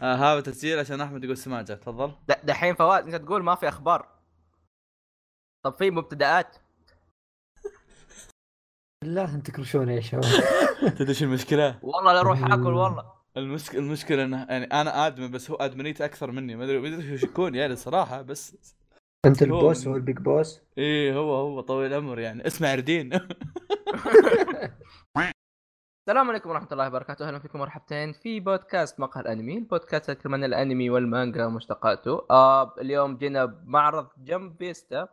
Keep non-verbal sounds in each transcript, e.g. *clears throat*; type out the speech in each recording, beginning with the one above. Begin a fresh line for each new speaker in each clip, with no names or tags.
آه هذا تسجيل عشان احمد يقول سماجه تفضل
د- دحين فواز انت تقول ما في اخبار طب في مبتدئات
بالله انت تكرشوني يا *laughs* شباب
تدري ايش المشكله؟
والله لا اروح اكل والله
المشك... المشكله انه يعني انا ادمن بس هو ادمنيته اكثر مني ما ادري ما ادري وش يكون يعني صراحه بس
انت البوس هو البيج بوس
ايه هو هو طويل العمر يعني اسمه *laughs* عردين
السلام عليكم ورحمه الله وبركاته اهلا فيكم مرحبتين في بودكاست مقهى الانمي البودكاست اللي يتكلم عن الانمي والمانجا ومشتقاته آه اليوم جينا بمعرض جنب فيستا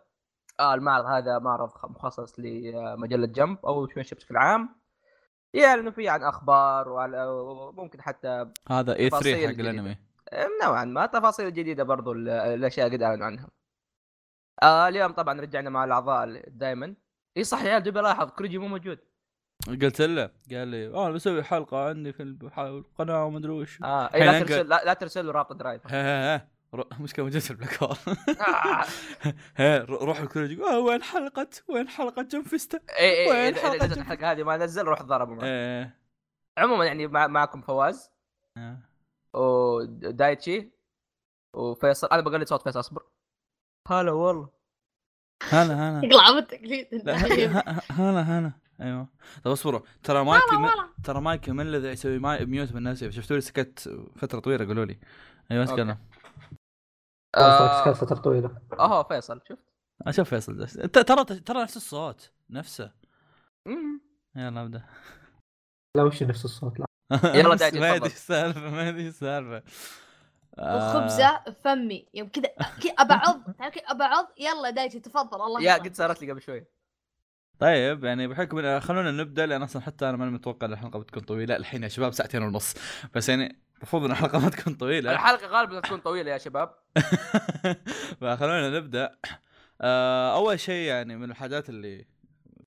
آه المعرض هذا معرض خ- مخصص لمجله جنب او شوينشي بشكل عام يعلنوا فيه عن اخبار وعلى وممكن حتى
هذا اي 3
تفاصيل
حق
جديدة.
الانمي
نوعا ما تفاصيل جديده برضو ال- الاشياء قد اعلنوا عنها. آه اليوم طبعا رجعنا مع الاعضاء دائما. اي صح يا عيال دوبي لاحظ كريجي مو موجود.
قلت له قال لي اه انا بسوي حلقه عندي في الب- القناه وما ادري وش
اه إيه لا
حين
ترسل لا, لا ترسل له رابط درايف.
*laughs* ها ها ها رو- مشكله موجوده في البلاك
*laughs*
هول
آه،
ها رو- روح الكوريج يقول، آه، وين حلقه وين حلقه جنفستا
إيه إيه
وين
إيه إذا-
حلقة
اذا نزلت الحلقه هذه ما نزل روح ضربه معه.
ايه
عموما يعني مع معكم فواز
آه.
ودايتشي وفيصل انا بقلد صوت فيصل اصبر. هلا والله.
هلا
*laughs*
هلا
اقلع بالتقليد
*laughs*
*laughs*
لا، ه- ه- هلا هلا ايوه طب اصبروا ترى مايكي من... ترى مايكي من الذي يسوي ماي ميوت من نفسه شفتوا لي سكت فتره طويله قالوا لي ايوه
أوكي.
اتكلم
آه.
آه
كانت فتره طويله
اهو فيصل شفت؟
اشوف فيصل ده. ت- ترى ترى نفس الصوت نفسه
مم.
يلا ابدا
لا وش نفس الصوت لا
*laughs*
يلا
أمس
دايتشي،
ما
تفضل.
هذه السالفه ما هذه السالفه آه،
وخبزه فمي يوم كذا كذا ابعض تعرف كذا ابعض يلا دايتي تفضل الله
يا
يحفظك.
قد صارت لي قبل شوي.
طيب يعني بحكم إن- خلونا نبدا لان اصلا حتى انا ماني متوقع ان الحلقه بتكون طويله الحين يا شباب ساعتين ونص بس يعني المفروض ان الحلقه ما تكون طويله
الحلقه غالبا تكون طويله يا شباب.
*laughs* فخلونا نبدا آه، اول شيء يعني من الحاجات اللي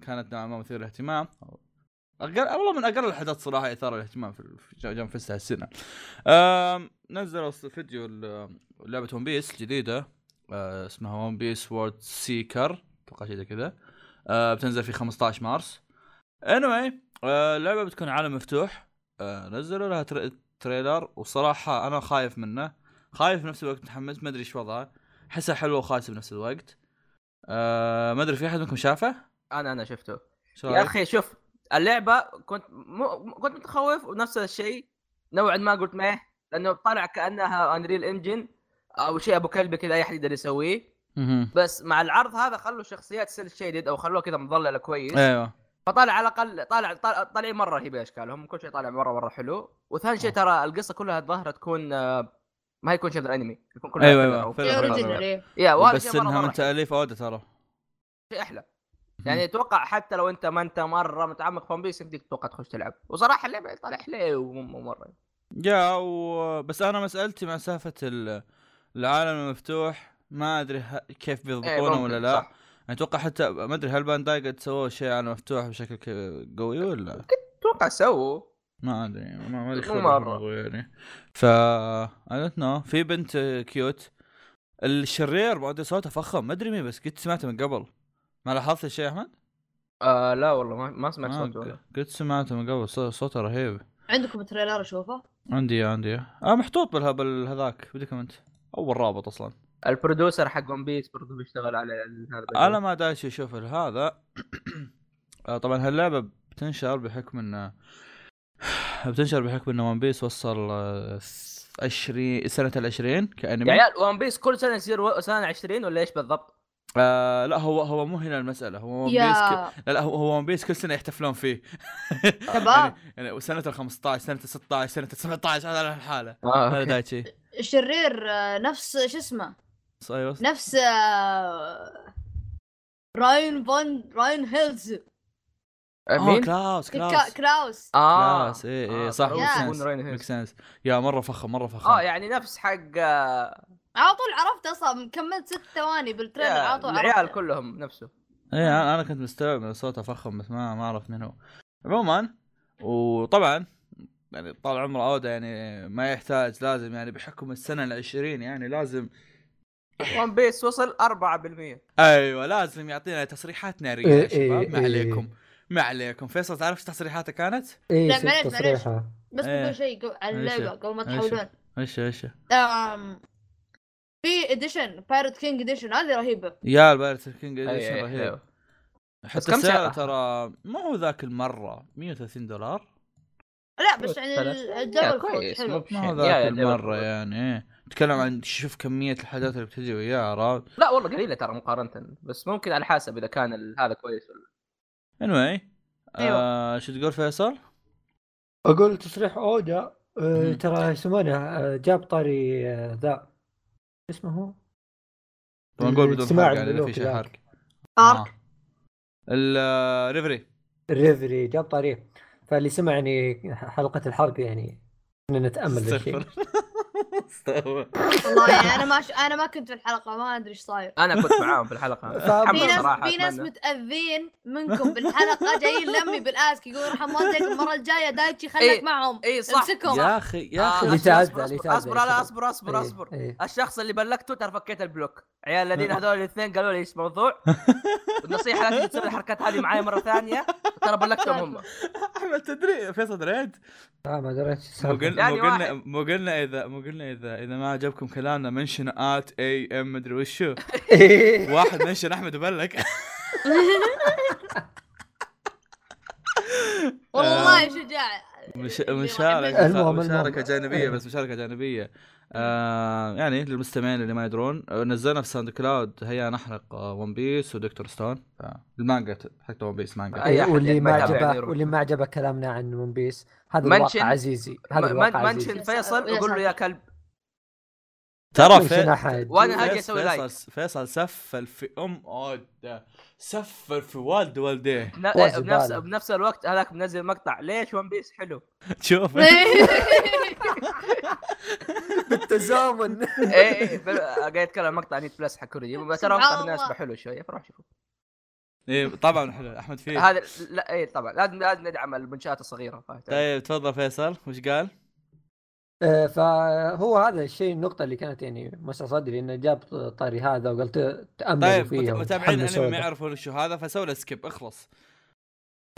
كانت نوعا ما مثيره للاهتمام اقل والله من اقل الحاجات صراحه اثاره للاهتمام في في- جنب فيست هالسنه آم، نزلوا ص- فيديو ل- لعبه ون بيس جديده آه، اسمها ون بيس وورد سيكر اتوقع شيء زي كذا آه، بتنزل في 15 مارس anyway آه، اللعبه بتكون عالم مفتوح آه، نزلوا لها تر- تريلر وصراحه انا خايف منه خايف في نفس الوقت متحمس ما ادري ايش وضعه حسها حلوه وخايسه بنفس الوقت آه ما ادري في احد منكم شافه؟
انا انا شفته
شو
يا
رأيك؟
اخي شوف اللعبه كنت مو كنت متخوف ونفس الشيء نوعا ما قلت ماه لانه طلع كانها انريل انجن او شيء ابو كلب كذا اي احد يقدر يسويه
مهم.
بس مع العرض هذا خلوا الشخصيات سيل شيدد او خلوه كذا مظلله كويس
ايوه
فطالع على الاقل طالع طالع- طالعين مره رهيبه اشكالهم كل شيء طالع مره مره حلو وثاني
إيه.
شيء ترى القصه كلها الظاهره تكون آه، ما هيكون شيء من الانمي يكون كلها
أيوة،
فيلر
أيوة،
أو-
فيلر،
يا
فيلر.
رجل إيه.
يا وهذا
بس
شيء مرة-
انها
مرة
من تاليف اودا ترى
شيء احلى يعني اتوقع حتى لو انت ما انت مره متعمق في ون بيس يمديك تتوقع تخش تلعب وصراحه اللعبه طالع حلو ومره
يا و... بس انا مسالتي مع سالفه ال- العالم المفتوح ما ادري ه... كيف بيضبطونه ولا لا يعني اتوقع حتى ما ادري هل بانداي قد سووا شيء على مفتوح بشكل ك- قوي ولا
اتوقع سووا
ما ادري ما ما ادري
مو
خبرة في
مرة.
الموضوع يعني ف اي دونت نو في بنت كيوت الشرير بعد صوته فخم ما ادري مين بس قد سمعته من قبل ما لاحظت الشيء يا احمد؟
آه لا والله ما, ما سمعت
آه،
صوت ولا
قد سمعته من قبل صو- صوته رهيب
عندكم تريلر اشوفه
عندي عندي اه محطوط بالها بالهذاك بدكم انت اول رابط اصلا
البرودوسر حق ون بيس برضه بيشتغل على ال- هذا
انا ما داش اشوف هذا *coughs* آه، طبعا هاللعبه بتنشر بحكم *sighs* ان بتنشر بحكم ان ون بيس وصل آه، 20 سنه ال 20
يا
كانمي
عيال ون بيس كل سنه يصير و- سنه 20 ولا ايش بالضبط؟
آه لا هو هو مو هنا المساله هو ون بيس ك...
يا
لا لا هو- هو ون بيس كل سنه يحتفلون فيه
شباب
يعني سنه ال 15 سنه ال 16 سنه ال 17 هذا الحاله
اه
آه، هذا
أوكي.
دايتشي
الشرير آه، نفس شو اسمه
ايوه
نفس آه، راين فون راين هيلز
آه،
مين؟
كلاوس
كا-
كلاوس
كراوس
اه
كلاس إيه. اي اي
آه،
صح
طبعاً
يا.
ميك
يكون
سنس
راين هيلز.
ميك سنس يا مره فخم مره فخم
اه يعني نفس حق آه،
على طول عرفت اصلا كملت ست ثواني بالتريلر على طول
العيال
عرفت
كلهم نفسه
اي انا إيه، أنا كنت مستوعب ان صوته فخم بس ما ما اعرف من هو عموما وطبعا يعني طال عمر اودا يعني ما يحتاج لازم يعني بحكم السنه العشرين يعني لازم
ون بيس وصل 4%
ايوه لازم يعطينا تصريحات ناريه
إيه،
يا شباب
إيه،
ما
إيه.
عليكم ما عليكم فيصل تعرف ايش تصريحاته كانت؟
اي
لا،
شفت
معليش، معليش.
تصريحه
بس
إيه.
بقول شيء قبل- على
معليش.
اللعبه قبل ما
معليش.
تحولون
ايش ايش
آم، في اديشن بايرت كينج اديشن هذه رهيبه
يا البايرت كينج
أي-
اديشن
أي-
رهيب
حلو. إيه، بس
حتى
كم
السعر
سعرها؟
ترى ما هو ذاك المره 130 دولار
لا بس يعني
ثلاث.
ال-
يا
الجبل فوق
كويس مو
حلو
ما هو
بشين. يا- يا
ذاك
الجبل
المره
فوق.
يعني إيه. تكلم عن شوف كميه الحاجات اللي بتجي وياها عرفت
لا والله قليله ترى مقارنه بس ممكن على حسب اذا كان ال- هذا كويس ولا
anyway
أيوة.
آه شو تقول فيصل؟
اقول تصريح اودا آه،
مم.
ترى يسمونه آه، جاب طاري آه، ذا اسمه هو
طبعا نقول بدون حرق
الاجتماع
يعني اذا في
الملوكي
شيء
إيه، ذاك.
حرق
ارك
آه. الريفري
ريفري جاب طاري فاللي سمع يعني حلقه الحرب يعني كنا نتامل الشيء
*laughs*
استغفر استغفر
والله يعني انا ما ش... انا ما كنت في الحلقه ما ادري ايش صاير
انا كنت معاهم في *laughs* الحلقه
فبي-
في
أتحمس صراحه
ناس في ناس
أتمنى.
متاذين منكم
*laughs*
بالحلقه جايين لمي بالاسك يقولون ارحم والديك المره الجايه دايتشي خليك
إيه.
معهم
اي صح
امسكهم
يا اخي يا
آه،
اخي
اللي
أصبر-
تعدى-
أصبر-
اللي
أصبر-
تعدى
اصبر لا
الشباب.
اصبر اصبر
إيه،
اصبر
إيه.
الشخص اللي بلغته ترى فكيت البلوك عيال الذين هذول الاثنين قالوا لي ايش موضوع *laughs* والنصيحه لا تجي تسوي الحركات هذه معي مره ثانيه ترى بلغتهم
*laughs*
هم
احمد تدري فيصل دريت
آه، ما دريت إيش
مو
السالفة.
قلنا
يعني
مو قلنا
واحد.
مو قلنا اذا مو قلنا اذا اذا ما عجبكم كلامنا منشن ات اي ام مدري وشو
*laughs* إيه.
واحد منشن احمد
*laughs*
وبلك
آه.
والله
*laughs*
شجاع
مش...
اللي راح
مشاركة
يمثل.
المهم، إيه.
مشاركة
المهم.
جانبية بس مشاركة جانبية آه يعني للمستمعين اللي ما يدرون آه، نزلنا في ساوند كلاود هيا نحرق ون بيس ودكتور ستون آه، المانجا ت- حقت ون بيس مانجا
أي
إيه،
أحد
واللي
يتابع
ما
يعني
عجبه
يروح.
واللي ما عجبه كلامنا عن ون بيس هذا
منشن-
الواقع عزيزي هذا
م-
الواقع عزيزي
منشن فيصل وقول له يا كلب
ترى
منشن
في...
احد
وأنا هاجي أسوي
فيصل-
لايك.
فيصل سفل في ام عود سفل في والد والديه *laughs*
بن-
هو
بنفس
زبالة.
بنفس الوقت هذاك منزل مقطع ليش ون بيس
*laughs*
حلو *laughs*
شوف
إيه.
بالتزامن
إيه.
اي اي بل- قاعد يتكلم مقطع نيت بلس حق
*laughs*
كوريجي ترى مقطع
سبحان
بالنسبه
الله.
حلو شويه فروح شوفه
إيه، طبعا حلو احمد فيه
هذا لا اي طبعا لازم لازم ندعم المنشات الصغيره فاهم؟
طيب تفضل فيصل وش قال؟
*laughs* آه، فهو هذا الشيء النقطة اللي كانت يعني مسع صدري انه جاب طاري هذا وقلت تأمل
طيب
فيها
مت- متابعين
وتحمسوا
الانمي ما
له.
يعرفون شو هذا فسوي له سكيب اخلص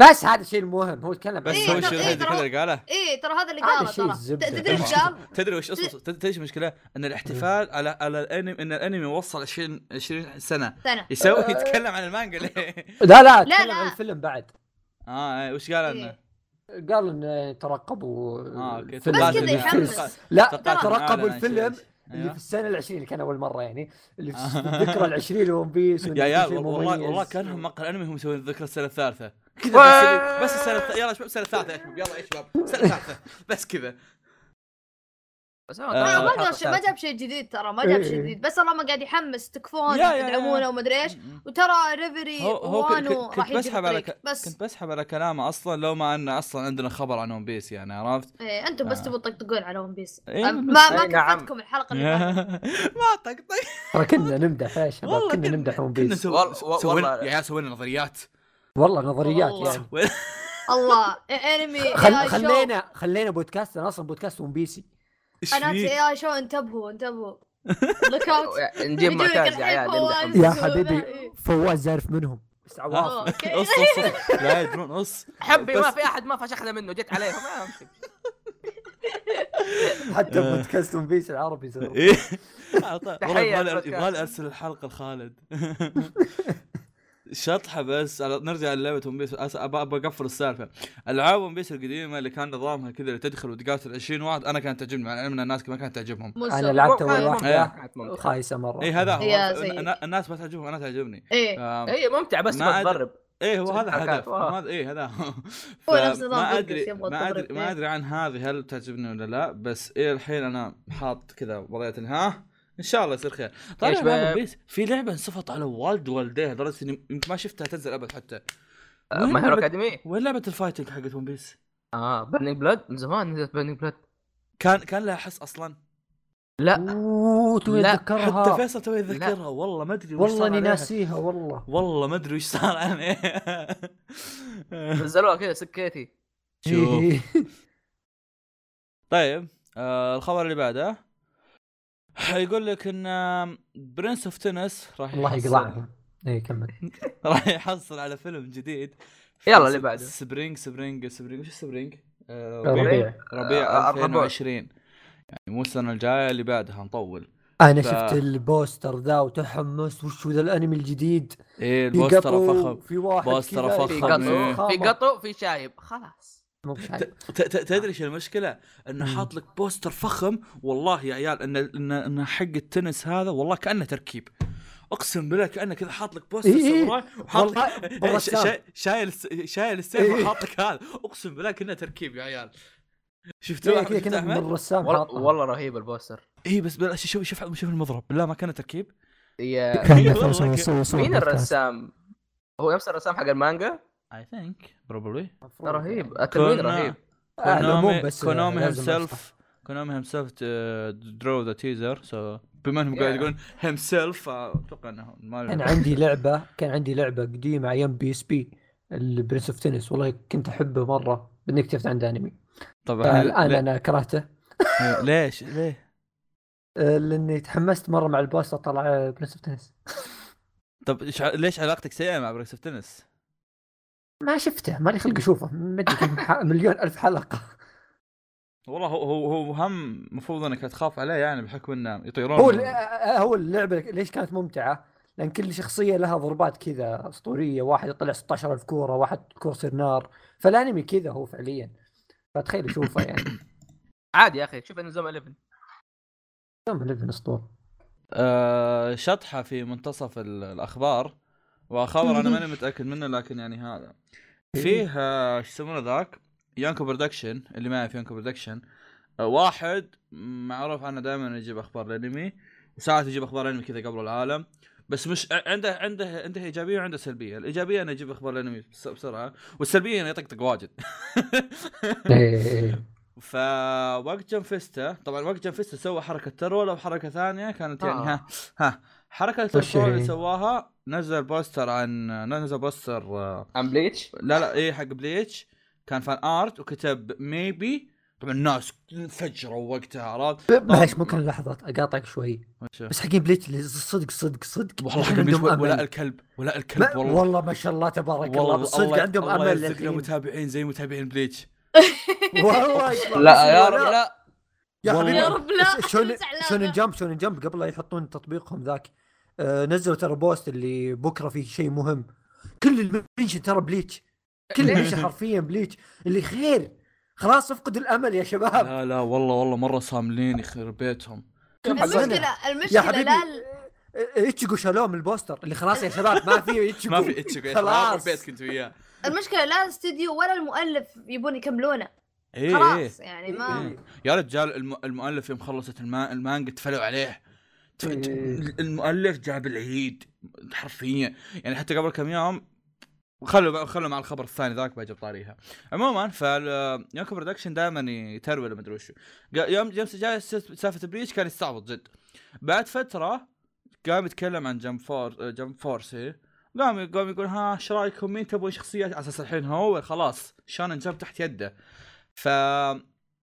بس هذا الشيء المهم هو يتكلم
بس
إيه،
هو
عن-
الشيء
إيه،
الوحيد اللي
ترى-
كذا اللي قاله
ايه ترى هذا اللي
هذا
قاله
شيء
ترى
الزبدة.
تدري ايش قال؟
تدري وش اصلا تدري ايش المشكله؟ ان
إيه.
الاحتفال على على الانمي ان الانمي وصل 20 20 سنه
سنة
*laughs*
يسوي يتكلم عن المانجا ليه؟
لا لا
لا،
تكلم
لا.
عن الفيلم بعد
اه إيه، وش قال لنا؟
قال انه ترقبوا
اه اوكي
الفيلم.
بس كذا
اللي في-
يحمس.
لا
توقعت إنه
ترقبوا
أعلن عن شيء.
الفيلم اللي
أيوة.
في السنة العشرين اللي كان أول مرة يعني اللي في
آه.
الذكرى العشرين لون بيس وإنه
يا عيال
شيء
والله
أيوه. مميز.
والله كانهم مقهى الانمي هم مسوين الذكرى السنه الثالثه
وا-
كذا بس, بس السنه الث- يلا يا شباب السنه الثالثه يا شباب يلا يا شباب السنه الثالثه بس كذا
بس
آه.
ترى
هو
ما قال شيء- ما جاب شيء جديد ترى ما جاب
إيه.
شيء جديد بس الله ما قاعد يحمس تكفون
يا- يا- يا.
تدعمونه ومدري ايش وترى ريفري
هو هو ك-
وانو
ك-
راح
كنت
يجي في
بسحب على
الطريق
ك-
بس
كنت بسحب على كلامه اصلا لو ما ان اصلا عندنا خبر عن ون بيس يعني عرفت؟
ايه انتم بس
آه.
تبون تطقطقون على ون بيس أم-
إيه،
ما ما
أي نعم.
كفتكم الحلقه اللي فاتت
*laughs* ما طقطق
ترى كنا نمدح يا شباب
والله
كنا
كنا-
نمدح ون
كنا
بيس
سو-
والله-
سوينا
والله-
يا عيال سوينا نظريات
والله نظريات
والله.
يعني
الله إيه، انمي
خل...
AI show.
خلينا خلينا بودكاستنا اصلا بودكاست ون بيسي
ايش
قناه
فيك؟
اي اي شو انتبهوا انتبهوا
*laughs*
لوك اوت
يعني نجيب
يجيب لك
معتز يا عيال
الحين
نمدح.
فواز.
يا
بس هو
حبيبي
إيه؟
بقى-
فواز عارف منهم بس عواف
آه، أوكي.
نص نص
*laughs*
لا يدرون نص
حبي
بس-
ما في احد ما فشخنا منه جيت عليهم *laughs* ما أمشي.
حتى بودكاست ون بيس العربي يسووه.
إيه. آه، طيب. والله
تحية
يبغالي-
البودكاست.
يبغالي ارسل الحلقه لخالد *laughs* شطحه بس على- نرجع للعبة ون بيس أس- ابى ابى اقفل السالفه العاب ون بيس القديمه اللي كان نظامها كذا اللي تدخل وتقاتل 20 واحد انا كانت تعجبني مع العلم ان الناس ما كانت تعجبهم
مسو.
انا لعبت اول
كانت ممتعة،
واحده
كانت ممتعة.
خايسه مره
اي إيه، هذا هو
يا
أنا-
سيدي.
أنا- الناس ما تعجبهم انا تعجبني
ايه
آم،
اي إيه، ممتع بس
ما
ما
أد-
تضرب
ايه هو
ست
هذا
حركات،
الهدف
آه.
هذا ايه هذا هو.
هو
ف-
نفس نظام
ما
بودكاست
ادري
يبغى
ما
تضرب
ادري ما
فيه.
ادري عن هذه هل تعجبني ولا لا بس الى الحين انا حاط كذا وضعيه ها ان شاء الله يصير خير
يا
طيب
شباب.
لعبة بيس في لعبه انصفت على والد والديه لدرجه اني يمكن ما شفتها تنزل ابد حتى
آه، ما هيرو اكاديمي
وين لعبه الفايتنج حقت ون بيس؟
اه بيرنينج بلاد من زمان نزلت بيرنينج بلاد
كان كان لها حس اصلا
لا
اوه توي
لا،
حتى
اتذكرها
فيصل تو يتذكرها والله ما ادري وش صار
والله اني
عليها.
ناسيها والله
والله ما ادري وش صار عليها
*laughs*
*laughs*
نزلوها كذا سكيتي
شوف
إيه.
طيب آه الخبر اللي بعده يقول لك ان برنس اوف تنس راح
الله
يحصل-
يقطعها اي كمل
*laughs* راح يحصل على فيلم جديد
يلا اللي بعده.
إيه،
سبرينج سبرينج سبرينج وش سبرينج؟ آه،
ربيع
ربيع
آه، الربع.
2020 يعني مو السنه الجايه اللي بعدها نطول
انا
ف-
شفت البوستر ذا وتحمس وش ذا الانمي الجديد
ايه
في
البوستر
قطو،
فخم
في واحد
بوستر
كذا،
في
فخم،
قطو
إيه.
قطو في
خامة.
قطو في شايب خلاص
مو بشايب.
ت- ت- تدري ايش المشكله؟ انه
مم.
حاط لك بوستر فخم والله يا عيال انه انه انه حق التنس هذا والله كانه تركيب اقسم بالله كانه كذا حاط لك بوستر
إيه إيه.
ساموراي وحاط لك
والله
إيه، ش-
بالرسام.
شا- شايل الس- شايل السيف
إيه.
وحاط لك هذا اقسم بالله كانه تركيب يا عيال شفت
إيه،
واحد
كذا
شفت
كنا من
احمد؟
الرسام
والله
حاطه
والله رهيب البوستر
اي بس بلا شوف شوف شوف المضرب بالله ما كان تركيب
يا *laughs*
إيه، والله كان-
مين الرسام؟ هو نفس الرسام حق المانجا؟
اي ثينك بروبلي
رهيب التلوين
كنا-
رهيب
العموم
كونامي
آه، بس
كونامي
لازم
himself كونامي himself uh, درو ذا تيزر سو بما انهم قاعد
Yeah.
يقولون himself آه، اتوقع انه ما
كان عندي لعبه كان عندي لعبه قديمه ايام بي اس بي البرنس اوف تنس والله كنت احبه مره بدي اكتشفت عنده انمي
طبعا
الان
لا-
انا كرهته
ليش ليه
آه، لاني تحمست مره مع البوستر طلع برنس اوف تنس
طب إيش ع- ليش علاقتك سيئه مع بريكس اوف تنس؟
ما شفته ماني خلق اشوفه مدري كم ح- *laughs* مليون الف حلقه
والله هو هو هو هم المفروض انك تخاف عليه يعني بحكم انه يطيرون
هو
من-
ال- هو اللعبه ليش كانت ممتعه؟ لان كل شخصيه لها ضربات كذا اسطوريه واحد يطلع 16000 كوره واحد كوره تصير نار فالانمي كذا هو فعليا فتخيل اشوفه يعني
عادي يا اخي شوف انزوم 11
يوم ليفن اسطوره
آه، شطحه في منتصف ال- الاخبار وخبر انا ماني متاكد منه لكن يعني هذا فيه آه، ايش يسمونه ذاك يانكو برودكشن اللي ما يعرف يانكو برودكشن آه، واحد معروف عنه دائما يجيب اخبار الانمي وساعات يجيب اخبار انمي كذا قبل العالم بس مش ع- عنده عنده عنده ايجابيه وعنده سلبيه، الايجابيه انه يجيب اخبار الانمي بس- بسرعه والسلبيه انه يطقطق واجد.
إيه.
فوقت جنفيستا طبعا وقت جنفيستا سوى حركه ترول وحركه ثانيه كانت يعني
آه.
ها ها حركه
وش
الترول اللي
هي؟
سواها نزل بوستر عن نزل بوستر آه،
ام بليتش
لا لا ايه حق بليتش كان فان ارت وكتب ميبي طبعا الناس انفجروا وقتها عرفت؟
معلش طيب، ممكن لحظه اقاطعك شوي
وش-
بس حقين بليتش اللي صدق صدق صدق
والله حق
عندهم
بليتش
أمل.
ولا الكلب ولا
ما-
الكلب والله
والله ما شاء الله تبارك الله صدق عندهم
الله
امل
يرزقنا
للحين.
متابعين زي متابعين بليتش
والله يطلع
لا يا
بسم الله.
رب لا
يا
والله.
حبيبي
يا
رب لا.
شون
زعلانة.
شون جمب شون جمب قبل لا يحطون تطبيقهم ذاك آه نزلوا ترى بوست اللي بكره فيه شيء مهم كل المنشن ترى بليتش كل المنشن حرفيا بليتش اللي خير خلاص افقد الامل يا شباب
لا لا والله والله مره صاملين يخرب بيتهم
المشكله
يا
المشكله
حبيبي
لا ال-
اتشيكو شالوه من البوستر اللي خلاص يا شباب ما في اتشيكو
ما
*laughs*
في اتش
خلاص
البيت كنت وياه
المشكله لا الاستديو ولا المؤلف يبون يكملونه
ايه ايه
خلاص يعني ما
إيه. يا رجال الم... المؤلف يوم خلصت الما... المانجا تفلوا عليه ت... ت...
إيه.
المؤلف جاب العيد حرفيا يعني حتى قبل كم يوم خلوا خلوا مع الخبر الثاني ذاك بجيب طاريها عموما فال يانكو برودكشن دائما يترول مدري وشو قا- يوم جيمس جاي س- سالفه بريتش كان يستعبط جد بعد فتره قام يتكلم عن جم فور جم فورس إيه. قام قام يقول ها ايش رايكم مين تبون شخصيات على اساس الحين هو خلاص شانن جاب تحت يده ف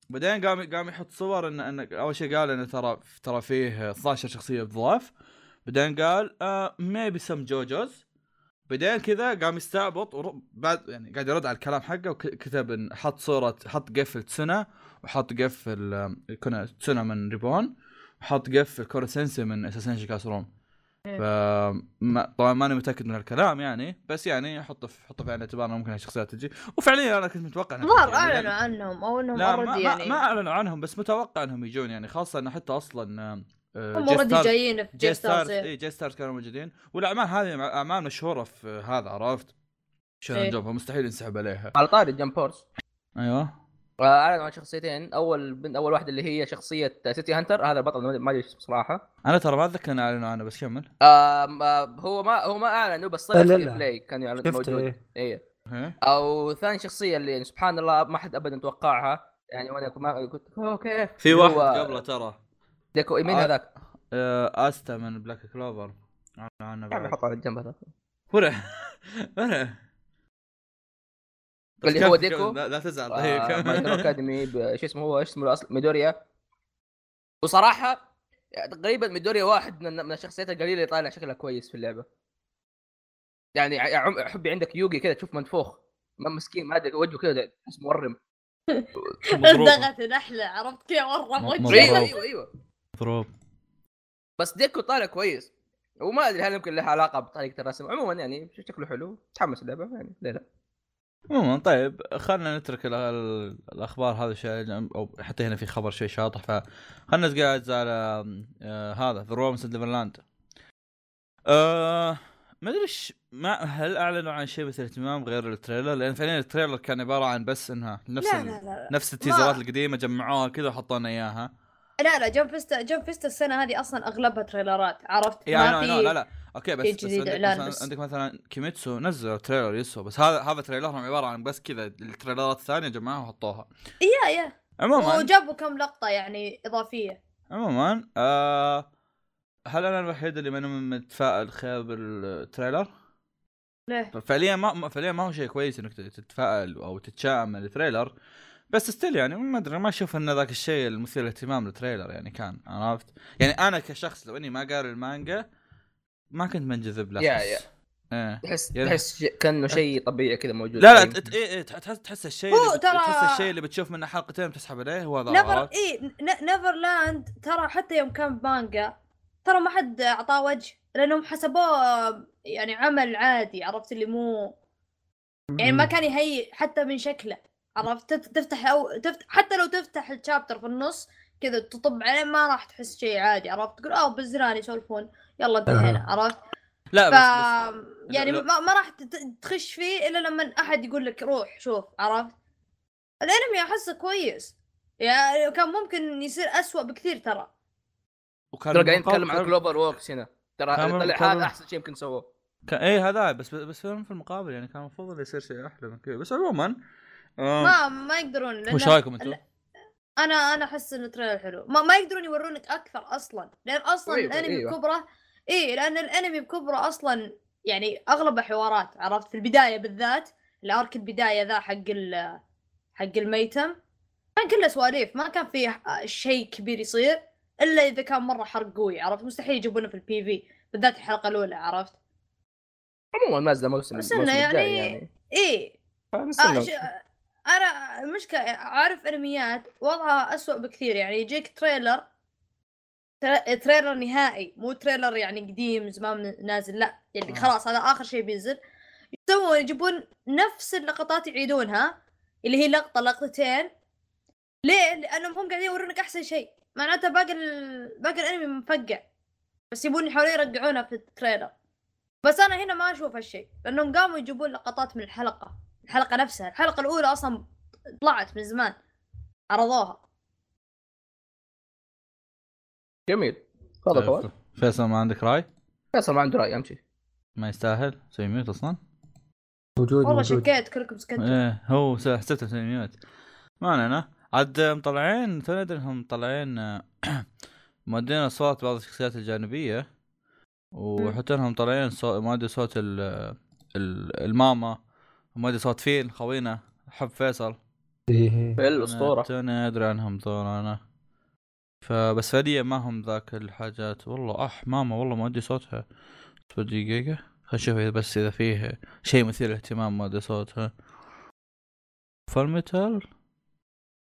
بعدين قام قام يحط صور ان ان اول شيء قال انه ترى ترى فيه 12 شخصيه بضاف بعدين قال آه، ميبي سم جوجوز بعدين كذا قام يستعبط ور... بعد يعني قاعد يرد على الكلام حقه وكتب ان حط صوره حط قفل تسنا وحط قفل آم، كنا تسنا من ريبون وحط قفل كورسنسي من اساسنشي كاسروم ف ما- طبعا ماني متاكد من الكلام يعني بس يعني حطه في حطه في عين الاعتبار إنه ممكن هالشخصيات تجي وفعليا انا كنت متوقع إنها
الظاهر
تجي، يعني-
اعلنوا عنهم او انهم
لا ما,
اوريدي
ما,
يعني
ما اعلنوا عنهم بس متوقع انهم يجون يعني خاصه انه حتى اصلا آم، آه،
هم
جي
اوريدي
ستارز-
جايين في
جي
جي
ستارز
ستارز
اي جي ستارز كانوا موجودين والاعمال هذه مع- اعمال مشهوره في هذا عرفت؟ شلون
إيه.
جوب فمستحيل ينسحب عليها
على طاري جمب فورس
ايوه
آه، اعلنوا عن شخصيتين اول بنت اول واحده اللي هي شخصيه سيتي هانتر هذا البطل ما ادري اسمه صراحه
انا ترى ما اتذكر إن اعلنوا عنه بس كمل
آم، آه، هو ما هو ما اعلنوا بس
لا،
طلع
لا،
في
لا.
بلاي كان يعلن
شفته
موجود
إيه.
ايه
إيه.
او ثاني شخصيه اللي سبحان الله ما حد ابدا توقعها يعني وانا كنت- ما كنت اوكي
في
اللي
واحد
هو
قبله ترى
ديكو مين
آه.
هذاك؟
آه، استا من بلاك كلوفر اعلنوا عنه
يعني
بعد
حطه على الجنب هذا
*laughs* ورع ورع
اللي
كمل-
هو
كمل،
ديكو؟
لا لا تزعل
آه،
طيب،
ماي
كمل. *laughs*
هيرو اكاديمي ب- شو اسمه هو ايش اسمه الاصل ميدوريا وصراحه يعني تقريبا ميدوريا واحد من من الشخصيات القليله اللي طالع شكلها كويس في اللعبه يعني ع- عم- حبي عندك يوغي كذا تشوف منفوخ ما مسكين ما ادري وجهه كذا تحس مورم
مضروب
دغت نحله عرفت كيف مره
م-
ايوه
مضروب.
وجهه
ايوه ايوه
مضروب
بس ديكو طالع كويس وما ادري هل يمكن لها علاقه بطريقه الرسم عموما يعني شكله حلو متحمس اللعبه يعني ليه لا
عموما طيب خلينا نترك ال- ال- الاخبار هذا الشيء او حتى هنا في خبر شيء شاطح فخلنا نتقاعد على آه، هذا ذا رومس ديفرلاند آه ما ادري ايش ما هل اعلنوا عن شيء مثير اهتمام غير التريلر لان فعليا التريلر كان عباره عن بس انها نفس
لا
ال-
لا لا
نفس التيزرات القديمه جمعوها كذا وحطوا لنا اياها
لا لا جنب فيستا جنب فيستا السنه هذه اصلا اغلبها تريلرات عرفت
اي
ما
انا إيه، لا لا
في
لا اوكي بس,
شيء
بس,
جديد
عندك,
إعلان
مثلا
بس.
عندك مثلا كيميتسو نزلوا تريلر يسو بس هذا هذا تريلرهم عباره عن بس كذا التريلرات الثانيه جمعوها وحطوها
يا يا
عموما
إيه، وجابوا كم لقطه يعني اضافيه
عموما آه هل انا الوحيد اللي ماني متفائل خير بالتريلر؟
ليه
فعليا ما ما- فعليا ما هو شيء كويس انك تتفائل او تتشائم من التريلر بس ستيل يعني ما ادري ما اشوف انه ذاك الشيء المثير للاهتمام للتريلر يعني كان عرفت؟ يعني انا كشخص لو اني ما قاري المانجا ما كنت منجذب له
يا-
أحس.
يا.
ايه
تحس
يلا.
تحس شيء- كانه شيء طبيعي كذا موجود
لا لا
يعني.
ت- إيه إيه تحس تحس الشيء
هو
اللي بت-
ترى-
تحس الشيء اللي بتشوف منه حلقتين بتسحب عليه هو ذا
نفر
عرفت؟
اي نيفرلاند إيه، ترى حتى يوم كان مانجا ترى ما حد اعطاه وجه لانهم حسبوه يعني عمل عادي عرفت اللي مو يعني ما كان يهيئ حتى من شكله عرفت تت- تفتح او تفتح حتى لو تفتح الشابتر في النص كذا تطب عليه ما راح تحس شيء عادي عرفت تقول اوه بزران يسولفون يلا انتهينا عرفت
لا
ف
بس, بس
يعني
لو-
ما, ما راح تت- تخش فيه الا لما احد يقول لك روح شوف عرفت الانمي احسه كويس يعني كان ممكن يصير أسوأ بكثير ترى
وكان
ترى قاعدين
المقابل-
نتكلم عن جلوبال ووركس هنا ترى
كان-
طلع
كان-
هذا احسن شيء يمكن سووه
كان ايه هذا بس بس في في المقابل يعني كان المفروض انه يصير شيء احلى من كذا بس عموما آم،
ما ما يقدرون لأن
وش رايكم انتم؟
لا. انا انا احس ان التريلر حلو ما, ما يقدرون يورونك اكثر اصلا لان اصلا
أيوة،
الانمي
أيوة.
بكبره اي لان الانمي بكبره اصلا يعني اغلبه حوارات عرفت في البدايه بالذات الارك البدايه ذا حق ال حق الميتم كان كله سواليف ما كان فيه شيء كبير يصير الا اذا كان مره حرق قوي عرفت مستحيل يجيبونه في البي في بالذات الحلقه الاولى عرفت
عموما ما زال موسم
بس إنه
الموسم الجاي
يعني-
يعني
اي آه،
فنستنى.
ش- انا المشكله اعرف انميات وضعها أسوأ بكثير يعني يجيك تريلر تر- تريلر نهائي مو تريلر يعني قديم زمان نازل لا يعني
آه.
خلاص هذا اخر شيء بينزل يسوون يجيبون نفس اللقطات يعيدونها اللي هي لقطه لقطتين ليه؟ لانهم هم قاعدين يورونك احسن شيء معناته باقي ال... باقي الانمي مفقع بس يبون يحاولون يرجعونه في التريلر بس انا هنا ما اشوف هالشيء لانهم قاموا يجيبون لقطات من الحلقه الحلقه نفسها الحلقه الاولى اصلا طلعت من زمان عرضوها
جميل
آه،
تفضل فواز
فيصل ما عندك راي؟
فيصل ما عنده راي اهم شيء
ما يستاهل؟ سوي ميوت اصلا؟
موجود
والله
موجود
شكيت كلكم سكتوا
ايه هو س- حسبته مسوي ميوت ما علينا عاد مطلعين تو ندري انهم مطلعين آه، *clears throat* مودين اصوات بعض الشخصيات الجانبيه وحتى انهم مطلعين صوت ما ادري صوت ال ال- الماما ما ادري صوت فين خوينا حب فيصل
إيه.
في الاسطوره
توني ادري عنهم دور انا فبس فعليا ما هم ذاك الحاجات والله اح ماما والله ما ادري صوتها اصبر دقيقة خلنا نشوف إذا بس اذا فيه شيء مثير للاهتمام ما ادري صوتها فالميتال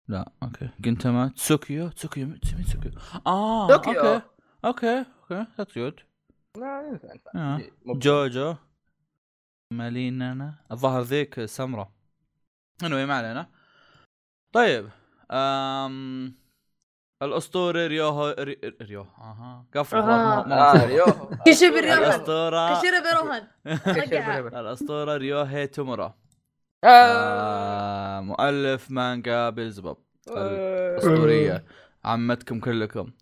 لا اوكي كنت ما تسوكيو تسوكيو مين تسوكيو اه
طوكيو.
اوكي اوكي اوكي ذاتس جود
لا ينفع ينفع.
آه.
مو-
جوجو ماليننا الظاهر ذيك سمرة anyway ما علينا طيب أم... الأسطورة ريوهو ري... ريوهو اها قفل
أها.
خلاص، ما- ما-
اه يوهو
*laughs* كشف الرياضة.
الأسطورة
كشيرا بيروهان
الأسطورة ريوهي تومورا
آه.
آه، مؤلف مانجا بيلزبوب
آه.
الأسطورية عمتكم كلكم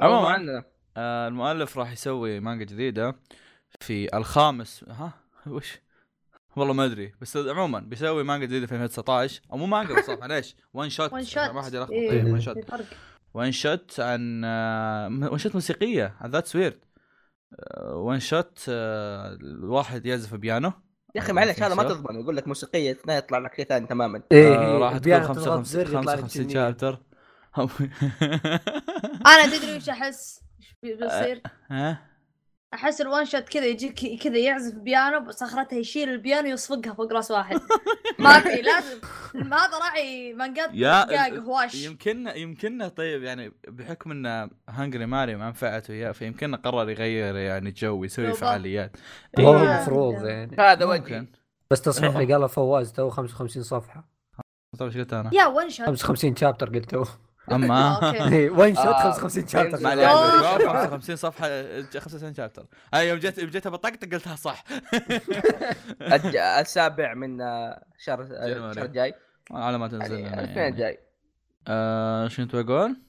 عموما
عموما.
عندنا
آه، المؤلف راح يسوي مانجا جديدة في الخامس ها وش والله ما ادري بس عموما بيسوي مانجا جديده في 2019 او مو مانجا بس معليش وان شوت
وان شوت
عشان ما حد يلخبط
إيه،
إيه، وان
في
شوت
فرق.
وان شوت عن آه، وان شوت موسيقيه ذاتس ويرد وان شوت آه، الواحد يعزف بيانو
يا اخي معلش هذا ما
شباب.
تضمن يقول لك موسيقيه اثنين يطلع لك شيء ثاني تماما
إيه.
آه، راح تكون
بيانو تضغط
55
زر يطلع لك
55
جنيه.
شابتر آه.
انا تدري وش احس وش بي- بيصير
*laughs* ها
احس الوان شوت كذا يجيك كذا يعزف بيانو بصخرتها يشيل البيانو يصفقها فوق
*laughs*
راس واحد ما في لازم هذا راعي مانجات
يا-
دقائق هواش
يمكننا يمكننا طيب يعني بحكم ان هانجري ماري ما نفعته اياه فيمكننا قرر يغير يعني جو يسوي
بالضبط.
فعاليات
هو
إيه.
المفروض يعني إيه.
هذا
ممكن
وجهي
بس تصحيح اللي قاله فواز تو 55 صفحه
طيب ايش قلت انا؟
يا ون شوت
55 شابتر قلت تو إيه،
آه،
اما
*laughs* أوكي.
وين شوت
آه،
55 شابتر
ما عليه
أوه.
55 صفحه 95 شابتر اي آه، يوم جيت يوم جيت بطقطق قلتها صح
الج- السابع من آه، شهر آه،
جانوري.
الشهر الجاي
على ما تنزل
يعني
لنا
الاثنين
يعني.
الجاي
آه، شو كنت بقول؟